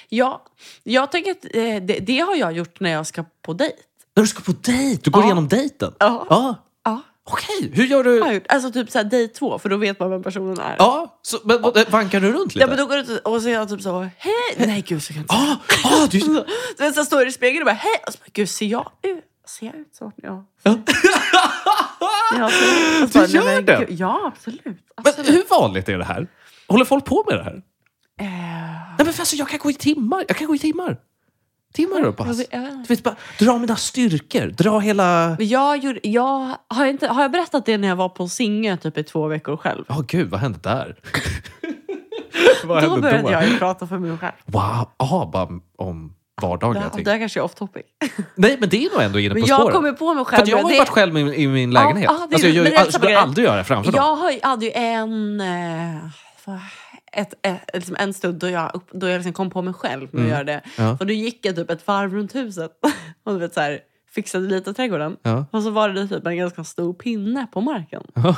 B: jag, jag tänker att eh, det, det har jag gjort när jag ska på dejt.
A: När du ska på dejt, du går
B: Ja.
A: igenom dejten?
B: Ja.
A: ja.
B: Ja.
A: Okej, hur gör du?
B: Har jag gjort. Alltså typ såhär dejt två, för då vet man vem personen är.
A: Ja, så, men, eh, Vankar du runt lite?
B: Ja, men då går du ut och så är jag typ så, hej! Nej gud, så kan jag inte säga.
A: ah, ah, du...
B: Du vet, så står jag i spegeln och bara, hej! Och så bara, gud, ser jag ut, ser jag ut så? Ja. ja så, och så
A: Du
B: nej,
A: gör
B: men
A: det?
B: gud, Ja, absolut. Alltså,
A: Men
B: absolut.
A: hur vanligt är det här? Håller folk på med det här?
B: Eh,
A: Nej men för alltså, jag kan gå i timmar. Jag kan gå i timmar. Timmar och pass.
B: jag vet- jag vet inte.
A: Du vet, bara, dra mina styrkor. Dra hela...
B: men jag gjorde, jag, har, jag inte, har jag berättat det när jag var på Singö typ i två veckor själv?
A: Ja, gud, vad hände där? vad
B: Då
A: hände
B: började
A: då?
B: jag ju prata för mig själv.
A: Wow, aha, bara om vardagliga
B: Ja,
A: ting.
B: det här kanske är off topic.
A: Nej, men det är nog ändå inne
B: Men
A: på
B: jag
A: spåret.
B: kommer på mig själv.
A: För att jag har ju
B: det-
A: varit själv i min, i min lägenhet.
B: ja, ah, det är-
A: alltså, jag gör,
B: men
A: ju-
B: det
A: alltså,
B: är
A: jag
B: samma
A: skulle
B: grej.
A: aldrig göra det framför dem.
B: Jag har, ju- hade ju en, eh, vad- ett, ett, liksom en stund då jag, upp, då jag liksom kom på mig själv med att göra det.
A: Mm. Ja.
B: Och då gick jag typ ett varv runt huset och du vet, så här, fixade lite trädgården.
A: Ja.
B: Och så var det typ en ganska stor pinne på marken.
A: Ja.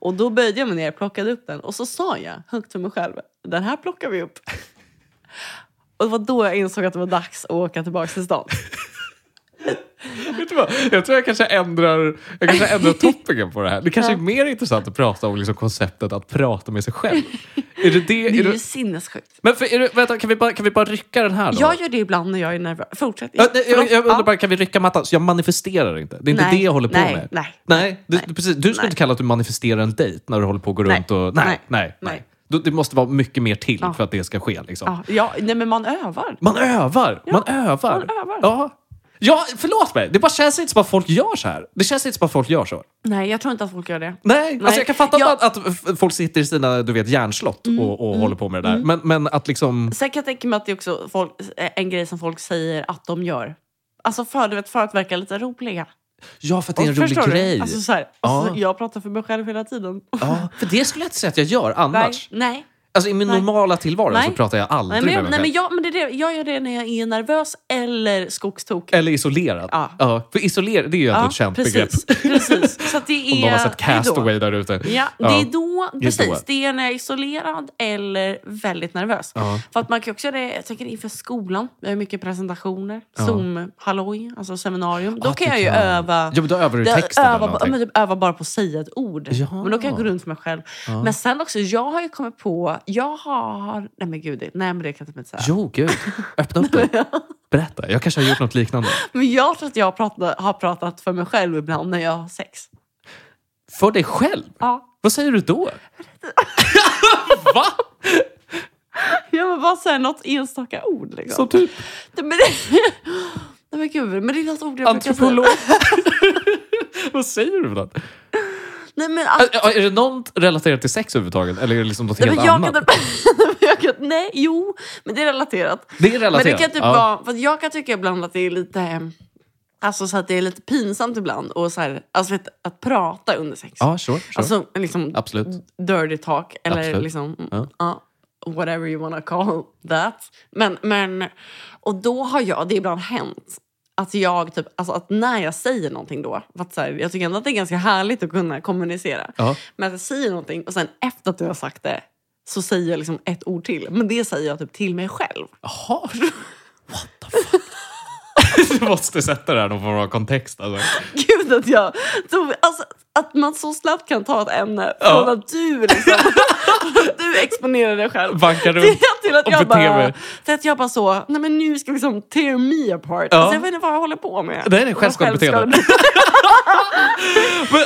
B: Och då böjde jag mig ner, plockade upp den och så sa jag högt för mig själv, den här plockar vi upp. Och det var då jag insåg att det var dags att åka tillbaka till stan.
A: Vet du bara, jag tror jag kanske ändrar, jag kanske ändrar toppingen på det här. Det kanske är mer intressant att prata om liksom konceptet att prata med sig själv. Är det det?
B: Det
A: Är
B: är ju
A: det,
B: sinnessjukt.
A: men för, är det, vänta, kan vi, bara, kan vi bara rycka den här då?
B: Jag gör det ibland när jag är nervös. Fortsätt.
A: Ja, nej, jag,
B: Förlåt.
A: jag
B: Ja.
A: undrar bara, kan vi rycka mattan? Så jag manifesterar inte. Det är inte
B: Nej,
A: det jag håller på
B: nej,
A: med.
B: nej,
A: nej, du,
B: nej,
A: du- precis, du skulle
B: nej.
A: inte kalla att du manifesterar en dejt när du håller på att gå
B: Nej,
A: runt och... Nej, nej,
B: nej,
A: nej.
B: nej.
A: Du, det måste vara mycket mer till
B: Ja.
A: för att det ska ske. Liksom.
B: Ja, ja, nej, men man övar.
A: Man övar! man övar!
B: man övar.
A: Ja. ja, förlåt mig! Det bara känns inte som att folk gör så här. Det känns inte som att folk gör så.
B: Nej, jag tror inte att folk gör det.
A: Nej,
B: Nej.
A: Alltså jag kan fatta
B: Ja. Mm.
A: att, att f- folk sitter i sina du vet, hjärnslott och, och håller på med det där. Men, men att liksom...
B: Sen kan jag tänka mig att det är också folk, en grej som folk säger att de gör. Alltså för, du vet, för att verka lite roliga.
A: Ja, för att det är en
B: Och förstår
A: rolig
B: du?
A: grej.
B: Alltså, så här,
A: Ja.
B: alltså, jag pratar för mig själv hela tiden.
A: ja, för det skulle jag inte säga att jag gör annars.
B: Nej, nej.
A: Alltså i min
B: Nej.
A: normala tillvaro så
B: Nej.
A: pratar jag aldrig
B: Nej, men,
A: med
B: jag,
A: mig
B: nej,
A: själv.
B: men, jag, men det är det, jag gör det när jag är nervös eller skogstokig.
A: Eller isolerad.
B: Ja.
A: För isolerad, det är ju ändå ett känt begrepp.
B: precis. precis. Så att det är,
A: Om någon har sett
B: det är då.
A: Castaway där ute.
B: Ja, det är då,
A: det är
B: precis.
A: då.
B: Det är när jag är isolerad eller väldigt nervös.
A: Ja.
B: För att man kan också göra det, jag tänker inför skolan, vi har ju mycket presentationer,
A: Ja.
B: Zoom-halloj, alltså seminarium. Då
A: Ah,
B: kan
A: du
B: jag ju
A: kan.
B: öva.
A: Ja, men då övar du
B: Det-
A: texten
B: öva,
A: eller
B: bara-
A: någonting.
B: men typ, öva bara på att säga ett ord.
A: Ja.
B: Men då kan jag gå runt för mig själv.
A: Ja.
B: Men sen också, jag har ju kommit på... Jag har... Nej men gud, det- nej men det kan jag typ inte säga.
A: Jo, gud. Öppna upp dig. Berätta. Jag kanske har gjort något liknande.
B: Men jag tror att jag pratat, har pratat för mig själv ibland när jag har sex.
A: För dig själv?
B: Ja.
A: Vad säger du då? Va?
B: Jag vill bara säga något enstaka ord. Liksom.
A: Som typ
B: Nej, men, det, nej men gud, men det är något ord jag brukar säga.
A: antropolog? Vad säger du för något?
B: Nej men, att,
A: Är- Är det något relaterat till sex överhuvudtaget? Eller är det liksom något
B: nej,
A: Äh, helt
B: men jag
A: annat?
B: kan typ... nej, men jag kan- Nej, jo, men det är relaterat.
A: Det är
B: Men
A: relaterat.
B: det kan typ
A: Ja.
B: vara, för att jag kan tycka ibland att det är lite eh, Alltså så att det är lite pinsamt ibland och så här, alltså vet, att prata under sex.
A: Ja, sure. sure.
B: Alltså liksom
A: Absolut.
B: dirty talk eller
A: Absolut.
B: liksom
A: Ja.
B: ja, whatever you wanna call that. Men, men, och då har jag, det är ibland hänt att jag typ, alltså att när jag säger någonting då, för att så här, jag tycker ändå att det är ganska härligt att kunna kommunicera.
A: Ja.
B: Men att jag säger någonting och sen efter att jag har sagt det så säger jag liksom ett ord till. Men det säger jag typ till mig själv.
A: Jaha. What the fuck? du måste sätta det här i någon form av kontext. Alltså.
B: Gud att jag tog, alltså, att man så snabbt kan ta ett ämne
A: Ja.
B: från att du liksom, från att du exponerar dig själv.
A: Vanka
B: Till,
A: runt.
B: till, att
A: och
B: jag
A: bete
B: bara,
A: mig.
B: till att jag bara så, nej men nu ska vi liksom tear me apart.
A: Ja.
B: Alltså, jag vet inte vad jag håller på med.
A: Nej, det är självskadebeteende. Men,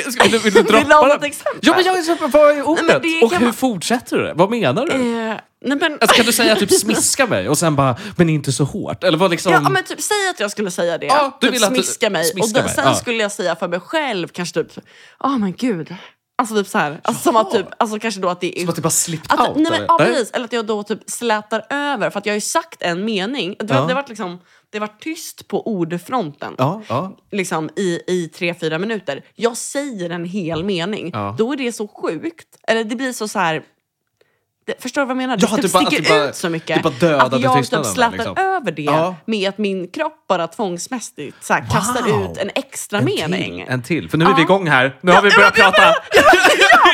A: eh, ska- vill, du- vill du
B: Vill du ha
A: droppa
B: något
A: den?
B: exempel?
A: Ja, men jag är så vad är
B: Nej,
A: ordet?
B: men det
A: Och
B: kan
A: hur
B: man-
A: fortsätter du det? Vad menar du?
B: Eh, nej men,
A: Alltså, kan du säga typ smiska mig och sen bara, men inte så hårt? Eller vad liksom...
B: ja, men typ, säg att jag skulle säga det.
A: Ja, du
B: typ,
A: vill att du-
B: smiska mig. och
A: smiska
B: då,
A: mig,
B: sen
A: ja.
B: skulle jag säga för mig själv kanske typ, åh men gud. Alltså typ så här. Alltså, som
A: Jaha.
B: att typ, alltså kanske då att det är
A: Som att det bara slipped
B: Att,
A: out?
B: nej, men,
A: eller?
B: ja, precis. Eller att jag då typ slätar över. För att jag har ju sagt en mening. Det,
A: Ja.
B: det, har varit liksom, det har varit tyst på ordfronten
A: Ja, ja.
B: liksom, i, i tre, fyra minuter. Jag säger en hel mening.
A: Ja.
B: Då är det så sjukt. Eller det blir så så här... Det, förstår du vad jag menar?
A: Ja, typ
B: det typ
A: bara- att
B: sticker
A: det bara-
B: ut så mycket.
A: det bara dödade
B: att jag
A: tystnaden,
B: typ slätar
A: liksom.
B: över det
A: Ja.
B: med att min kropp bara tvångsmässigt så här, kastar
A: Wow.
B: ut en extra
A: En
B: mening.
A: till, en till. För nu är vi
B: Ja.
A: igång här. Nu har vi börjat prata.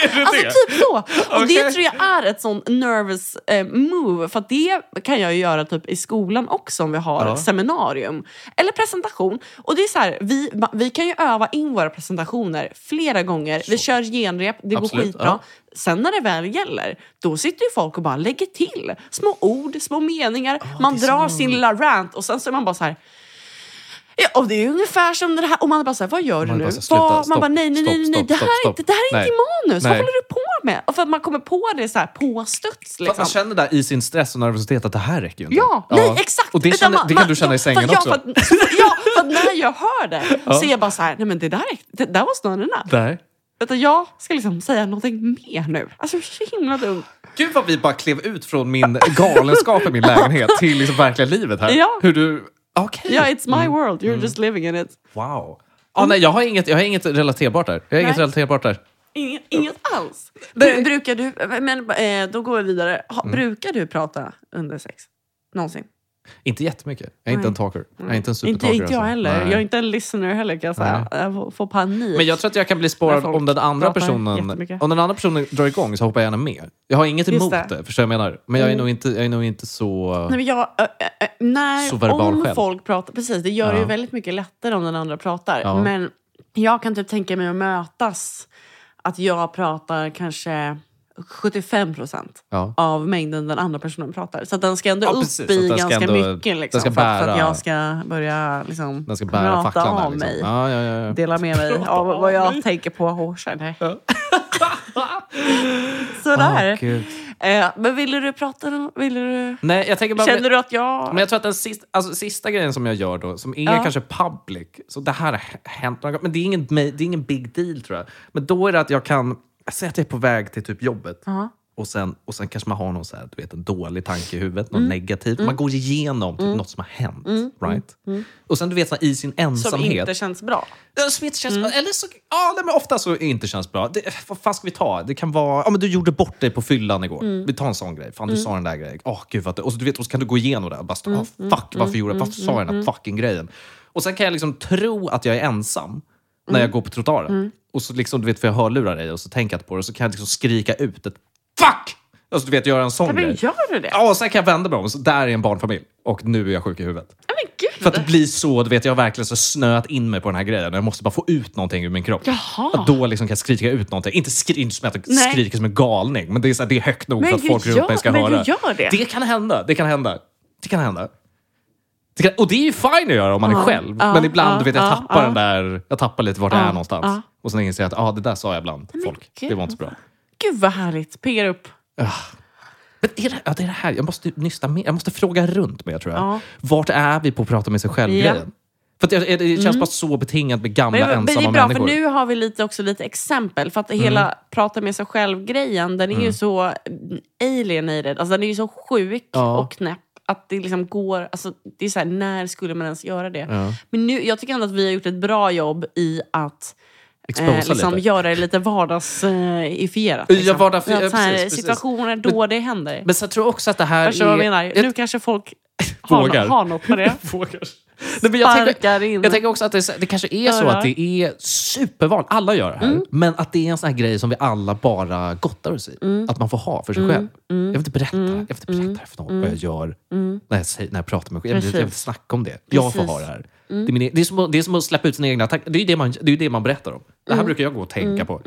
A: Är det
B: Alltså
A: det?
B: typ så. Och
A: Okej.
B: det tror jag är ett sånt nervous eh, move. För att det kan jag ju göra typ i skolan också om vi har
A: Ja.
B: ett seminarium. Eller presentation. Och det är så här, vi, ma- vi kan ju öva in våra presentationer flera gånger. Vi kör genrep, det
A: Absolut,
B: går skitbra.
A: ja.
B: Sen när det väl gäller, då sitter ju folk och bara lägger till små ord, små meningar. man
A: det är
B: drar
A: så-
B: sin lilla rant och sen så är man bara så här... Ja, och det är ju ungefär som det här. Och man är bara så här, vad gör du
A: Man är
B: nu?
A: bara så här, sluta,
B: Vad- man
A: stopp,
B: bara, nej, nej,
A: stopp,
B: nej, nej, nej.
A: stopp,
B: Det,
A: stopp,
B: här är
A: stopp.
B: inte, det här är inte
A: Nej.
B: i manus.
A: Nej.
B: Vad håller du på med? Och för att man kommer på det så här på studs.
A: För att
B: Liksom.
A: man känner där i sin stress och nervositet att det här räcker ju inte.
B: Ja, nej exakt.
A: Och det,
B: Utan
A: känner,
B: man-
A: det kan
B: man-
A: du känna
B: ja,
A: i sängen
B: för,
A: också.
B: Ja, för, att, så, ja, för att när jag hör det så är jag bara så här, nej men det där, är, det där var snarare enough.
A: Nej.
B: Utan jag ska liksom säga någonting mer nu. Alltså så himla dumt.
A: Gud vad vi bara klev ut från min galenskap i min lägenhet till liksom verkliga livet här.
B: Ja.
A: Hur du... Okej.
B: Ja, it's my
A: Mm.
B: world, you're just living in it.
A: Wow. Ah, nej, jag, har inget, jag har inget relaterbart där. Jag har inget
B: Nej.
A: relaterbart där.
B: Inget, inget alls.
A: Nej. Mm.
B: Brukar du, men eh, då går vi vidare. Ha, Brukar du prata under sex? Någonsin?
A: Inte jättemycket. Jag är inte
B: Nej.
A: en talker. Jag är inte en
B: Inte,
A: supertalker.
B: inte jag
A: alltså.
B: heller.
A: Nej.
B: Jag är inte en listener heller kan jag säga. Jag får- får panik.
A: Men jag tror att jag kan bli
B: När
A: spårad
B: folk
A: om den andra
B: pratar
A: personen
B: jättemycket.
A: om den andra personen drar igång så hoppar jag gärna med. Jag har inget
B: Just
A: emot
B: det. Mm.
A: det. förstår jag vad jag menar? Men jag är nog inte, jag är nog inte så...
B: Nej, men jag, ö, ö, ö, när,
A: Så verbal
B: om
A: själv.
B: folk pratar, precis, det gör det
A: Ja.
B: ju väldigt mycket lättare om den andra pratar.
A: Ja.
B: Men jag kan typ tänka mig att mötas, att jag pratar kanske 75 procent
A: Ja.
B: av mängden den andra personen pratar. Så att den ska ändå
A: Ja,
B: upp
A: precis. Så att
B: i
A: den ska
B: ganska
A: ändå-
B: mycket
A: den
B: liksom,
A: ska
B: för, att, för att
A: bära-
B: jag ska börja liksom,
A: Den ska bära
B: prata
A: facklan där.
B: av
A: Liksom.
B: mig.
A: Ja, ja, ja, ja.
B: Dela med mig av vad jag tänker på. Åh, tjej, nej. Sådär.
A: Åh, Gud.
B: Eh, men ville du prata? om- Ville du...
A: Nej, jag tänker bara...
B: Känner du att jag...
A: Men jag tror att den sista, alltså, sista grejen som jag gör då, som är
B: Ja.
A: kanske public, så det här har h- hänt några gånger, men det är, ingen, det är ingen big deal tror jag. Men då är det att jag kan, säg att jag är på väg till typ jobbet och, sen, och sen kanske man har någon så här, du vet, en dålig tanke i huvudet,
B: Mm.
A: något negativt. Man går igenom typ, något som har hänt. Right? Och sen du vet så här, i sin
B: Mm. som
A: ensamhet.
B: inte känns bra.
A: Ja, Som inte känns bra. Eller så, ja, nej, men ofta så inte känns bra. Det, vad fan ska vi ta? Det kan vara, ja, men du gjorde bort dig på fyllan igår. Vi tar en sån grej. Fan, du sa den där grejen. Oh, gud, vad, det- och så, du vet, och så kan du gå igenom det. och Bara, mm. fuck, varför, gjorde, jag- varför sa jag den där fucking grejen? Och sen kan jag liksom tro att jag är ensam när jag går på trottoaren. Och så liksom, du vet, för jag hörlurar dig och så tänker jag inte på det. Och så kan jag liksom skrika ut ett fuck! Alltså, du vet, göra en sån
B: Ja, men
A: grej.
B: gör du det?
A: Ja, och sen kan jag vända mig om. Så där är en barnfamilj. Och nu är jag sjuk i huvudet.
B: Nej, men gud!
A: För att det blir så, du vet, jag har verkligen så snöat in mig på den här grejen. Jag måste bara få ut någonting ur min kropp.
B: Jaha.
A: Att då liksom kan jag skrika ut någonting. Inte, skri inte som att jag
B: Nej.
A: skriker som en galning, men det är, så här, det är högt nog
B: Men
A: för att
B: du
A: folk runt
B: gör-
A: mig ska
B: men du
A: höra.
B: gör det.
A: Det kan hända. Det kan hända. Det kan hända. Det kan, och det är ju fine att göra om man är själv. men ibland,
B: ja,
A: du vet, jag
B: ja,
A: tappar
B: ja.
A: den där... Jag tappar lite vart jag är någonstans.
B: ja.
A: Och sen inser jag att ah, det där sa jag bland folk.
B: gud.
A: Det var inte så bra.
B: Gud vad härligt. Piggar upp.
A: Men är det, ja, det är det här. Jag måste nysta mer. Jag måste fråga runt mer, tror jag.
B: Ja.
A: Vart är vi på att prata med sig
B: Ja. Mm.
A: själv-grejen? För att det, det känns bara så betingat med gamla,
B: Men, men det
A: ensamma
B: är bra,
A: människor. Mm.
B: för nu har vi lite, också lite exempel. För att hela prata med sig själv-grejen, den är ju så alienated. Alltså, den är ju så sjuk
A: Ja.
B: och knäpp. Att det liksom går... Alltså, det är så här, när skulle man ens göra det?
A: Ja.
B: Men nu, jag tycker ändå att vi har gjort ett bra jobb i att eh,
A: Exposa
B: liksom
A: lite.
B: göra det lite vardagsifierat.
A: Ja,
B: Liksom.
A: vardagsifierat,
B: Att så här,
A: precis, precis.
B: situationer då det händer.
A: Men sen tror jag också att det här
B: Förstår du vad
A: är...
B: Alltså, jag menar?
A: Jag-
B: Nu kanske folk har,
A: Vågar.
B: har något på det.
A: Vågar. Nej, men jag,
B: Sparkar
A: tänker,
B: in.
A: jag tänker också att det, är så- det kanske är så
B: Öra.
A: att det är supervanligt, alla gör det här,
B: Mm.
A: men att det är en sån här grej som vi alla bara gottar oss i.
B: Mm.
A: Att man får ha för sig själv. Jag vill inte berätta, jag vill inte berätta för någon vad jag
B: Mm.
A: gör när, jag säger, när jag pratar med mig själv. Jag vill, inte- jag vill inte snacka om det. Jag får
B: Precis. Mm.
A: ha det här. Det, är min, e- det, är som, att- det är som att släppa ut sina egna tankar. Det är ju det man, det är ju det man berättar om. Det här brukar jag gå och tänka på.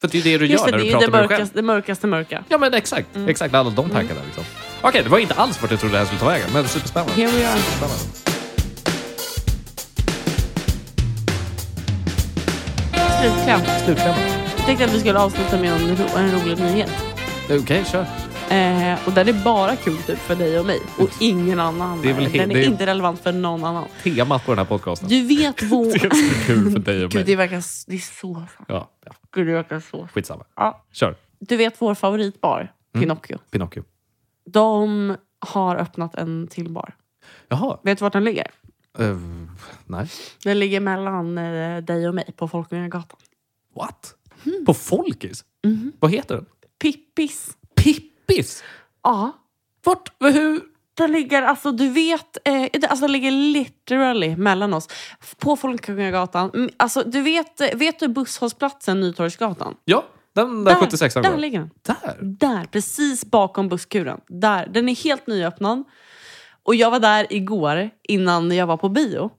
A: För det är ju det du
B: Mm.
A: gör
B: Just det,
A: när
B: det
A: du
B: är ju det Mm.
A: pratar med dig själv.
B: mörkaste, det mörkaste mörka.
A: Ja men exakt, exakt alla de tankarna. Liksom. Okej, det var inte alls vart jag trodde det här skulle ta vägen, men superspännande.
B: Here we are.
A: superspännande.
B: Slutkläm.
A: Slutklämmen.
B: Jag tänkte att vi skulle avsluta med en, ro, en rolig nyhet.
A: Okej, kör.
B: Eh, och den är bara kul typ för dig och mig och ingen annan.
A: Det är väl he-
B: den är
A: det är-
B: inte relevant för någon annan.
A: Temat på den här podcasten.
B: Du vet vår...
A: Det är kul för dig och
B: Gud,
A: mig.
B: det verkar... s- Det är så... sant.
A: Ja, ja,
B: Gud, det verkar så...
A: skitsamma.
B: Ja.
A: Kör.
B: Du vet vår favoritbar,
A: Mm.
B: Pinocchio.
A: Pinocchio.
B: De har öppnat en till bar.
A: Jaha.
B: Vet du vart den ligger?
A: eh, nej.
B: Den ligger mellan eh, dig och mig på Folkungagatan.
A: What?
B: Hmm.
A: På Folkis?
B: Mhm.
A: Vad heter den?
B: Pippis.
A: Pippis?
B: Ja.
A: Vart? vad- Hur?
B: Den ligger, alltså du vet, eh, det- alltså den ligger literally mellan oss. F- På Folkungagatan. Mm, Alltså du vet, eh, vet du busshållplatsen Nytorgsgatan?
A: Ja, den där, 76
B: där
A: där,
B: ligger den.
A: där?
B: Där, precis bakom busskuren. Där. Den är helt nyöppnad. Och jag var där igår innan jag var på bio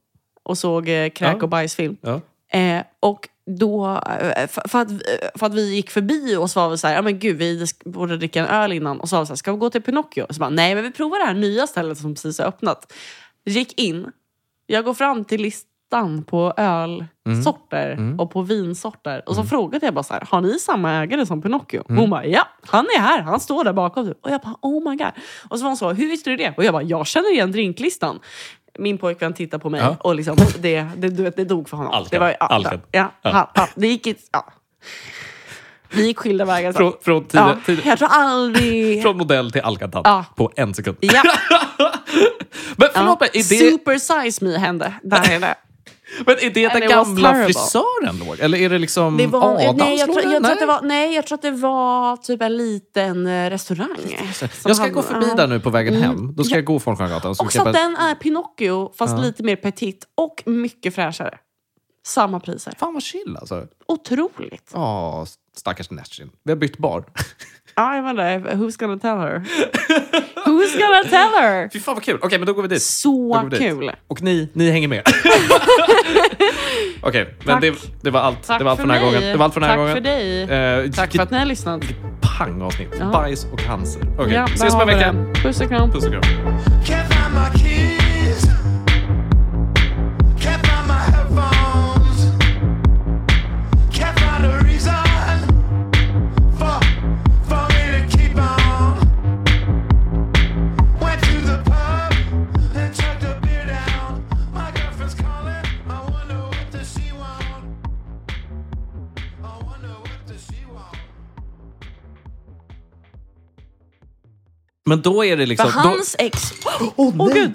B: och såg eh, kräk
A: Ja.
B: och bajsfilm.
A: Ja.
B: Eh, och då, eh, för, för, att, eh, för att vi gick förbi och så var vi så här, ja men gud vi sk- borde dricka en öl innan. Och så var vi så här, ska vi gå till Pinocchio? Och så bara, nej men vi provar det här nya stället som precis har öppnat. Gick in, jag går fram till listan på ölsorter
A: Mm.
B: och på vinsorter. Och så frågade jag bara så här, har ni samma ägare som Pinocchio?
A: Mm.
B: Hon bara, ja han är här, han står där bakom. typ." Och jag bara, oh my god. Och så var hon så, hur visste du det? Och jag bara, jag känner igen drinklistan. Min pojkvän tittar på mig
A: Ja.
B: och liksom, det, det, du vet, det dog för honom.
A: Alkad.
B: Det var, ju- ja,
A: Alkad.
B: Ja,
A: Ja.
B: ja. ja, det gick inte... Ja. Vi gick skilda vägar. sen.
A: Från, från, tidiga,
B: ja,
A: tidiga-
B: jag tror aldrig...
A: från modell till alkantant
B: Ja.
A: på en sekund.
B: Ja,
A: Men förlåt
B: ja.
A: mig, är det...
B: Super size me hände. Där är det.
A: Men är det
B: And
A: där
B: it was
A: gamla
B: terrible.
A: frisören låg? Eller är det liksom
B: Det var,
A: Adams
B: nej, jag tror,
A: låda?
B: jag tror att det
A: Nej.
B: var, nej, jag tror att det var typ en liten eh, restaurang. som
A: Jag ska
B: han-
A: gå förbi
B: ja.
A: där nu på vägen
B: Mm.
A: hem. Då ska jag gå Folkungagatan. så vi
B: Också
A: kan
B: att
A: bara-
B: den är Pinocchio, fast lite mer petit och mycket fräschare. Samma priser.
A: Fan vad chill alltså.
B: Otroligt.
A: Ja, stackars Nashin. Vi har bytt bar.
B: Ja, jag menar, who's gonna tell her? Who's gonna tell her?
A: Fy fan vad kul. Okej, men då går vi dit. Då
B: Så
A: går vi dit.
B: kul.
A: Och ni, ni hänger med. Okej, men
B: Tack.
A: det, det var allt. det var allt för den här
B: mig.
A: gången. Det var allt för den här
B: Tack
A: gången.
B: för dig.
A: Eh,
B: Tack för att ni har lyssnat.
A: Pang avsnitt.
B: Ja.
A: Bajs och cancer. Okej,
B: Ja, där
A: ses om
B: har
A: en
B: vi
A: vecka.
B: den. Puss och kram.
A: Puss och kram.
E: Can't find my keys. Can't find my headphones. Can't find a reason for for me to keep on. Went to the pub and chucked a beer down. My girlfriend's calling. I wonder what does she want. I wonder what does she want.
A: Men då är det
B: För
A: liksom... då-
B: hans ex... Åh oh, gud!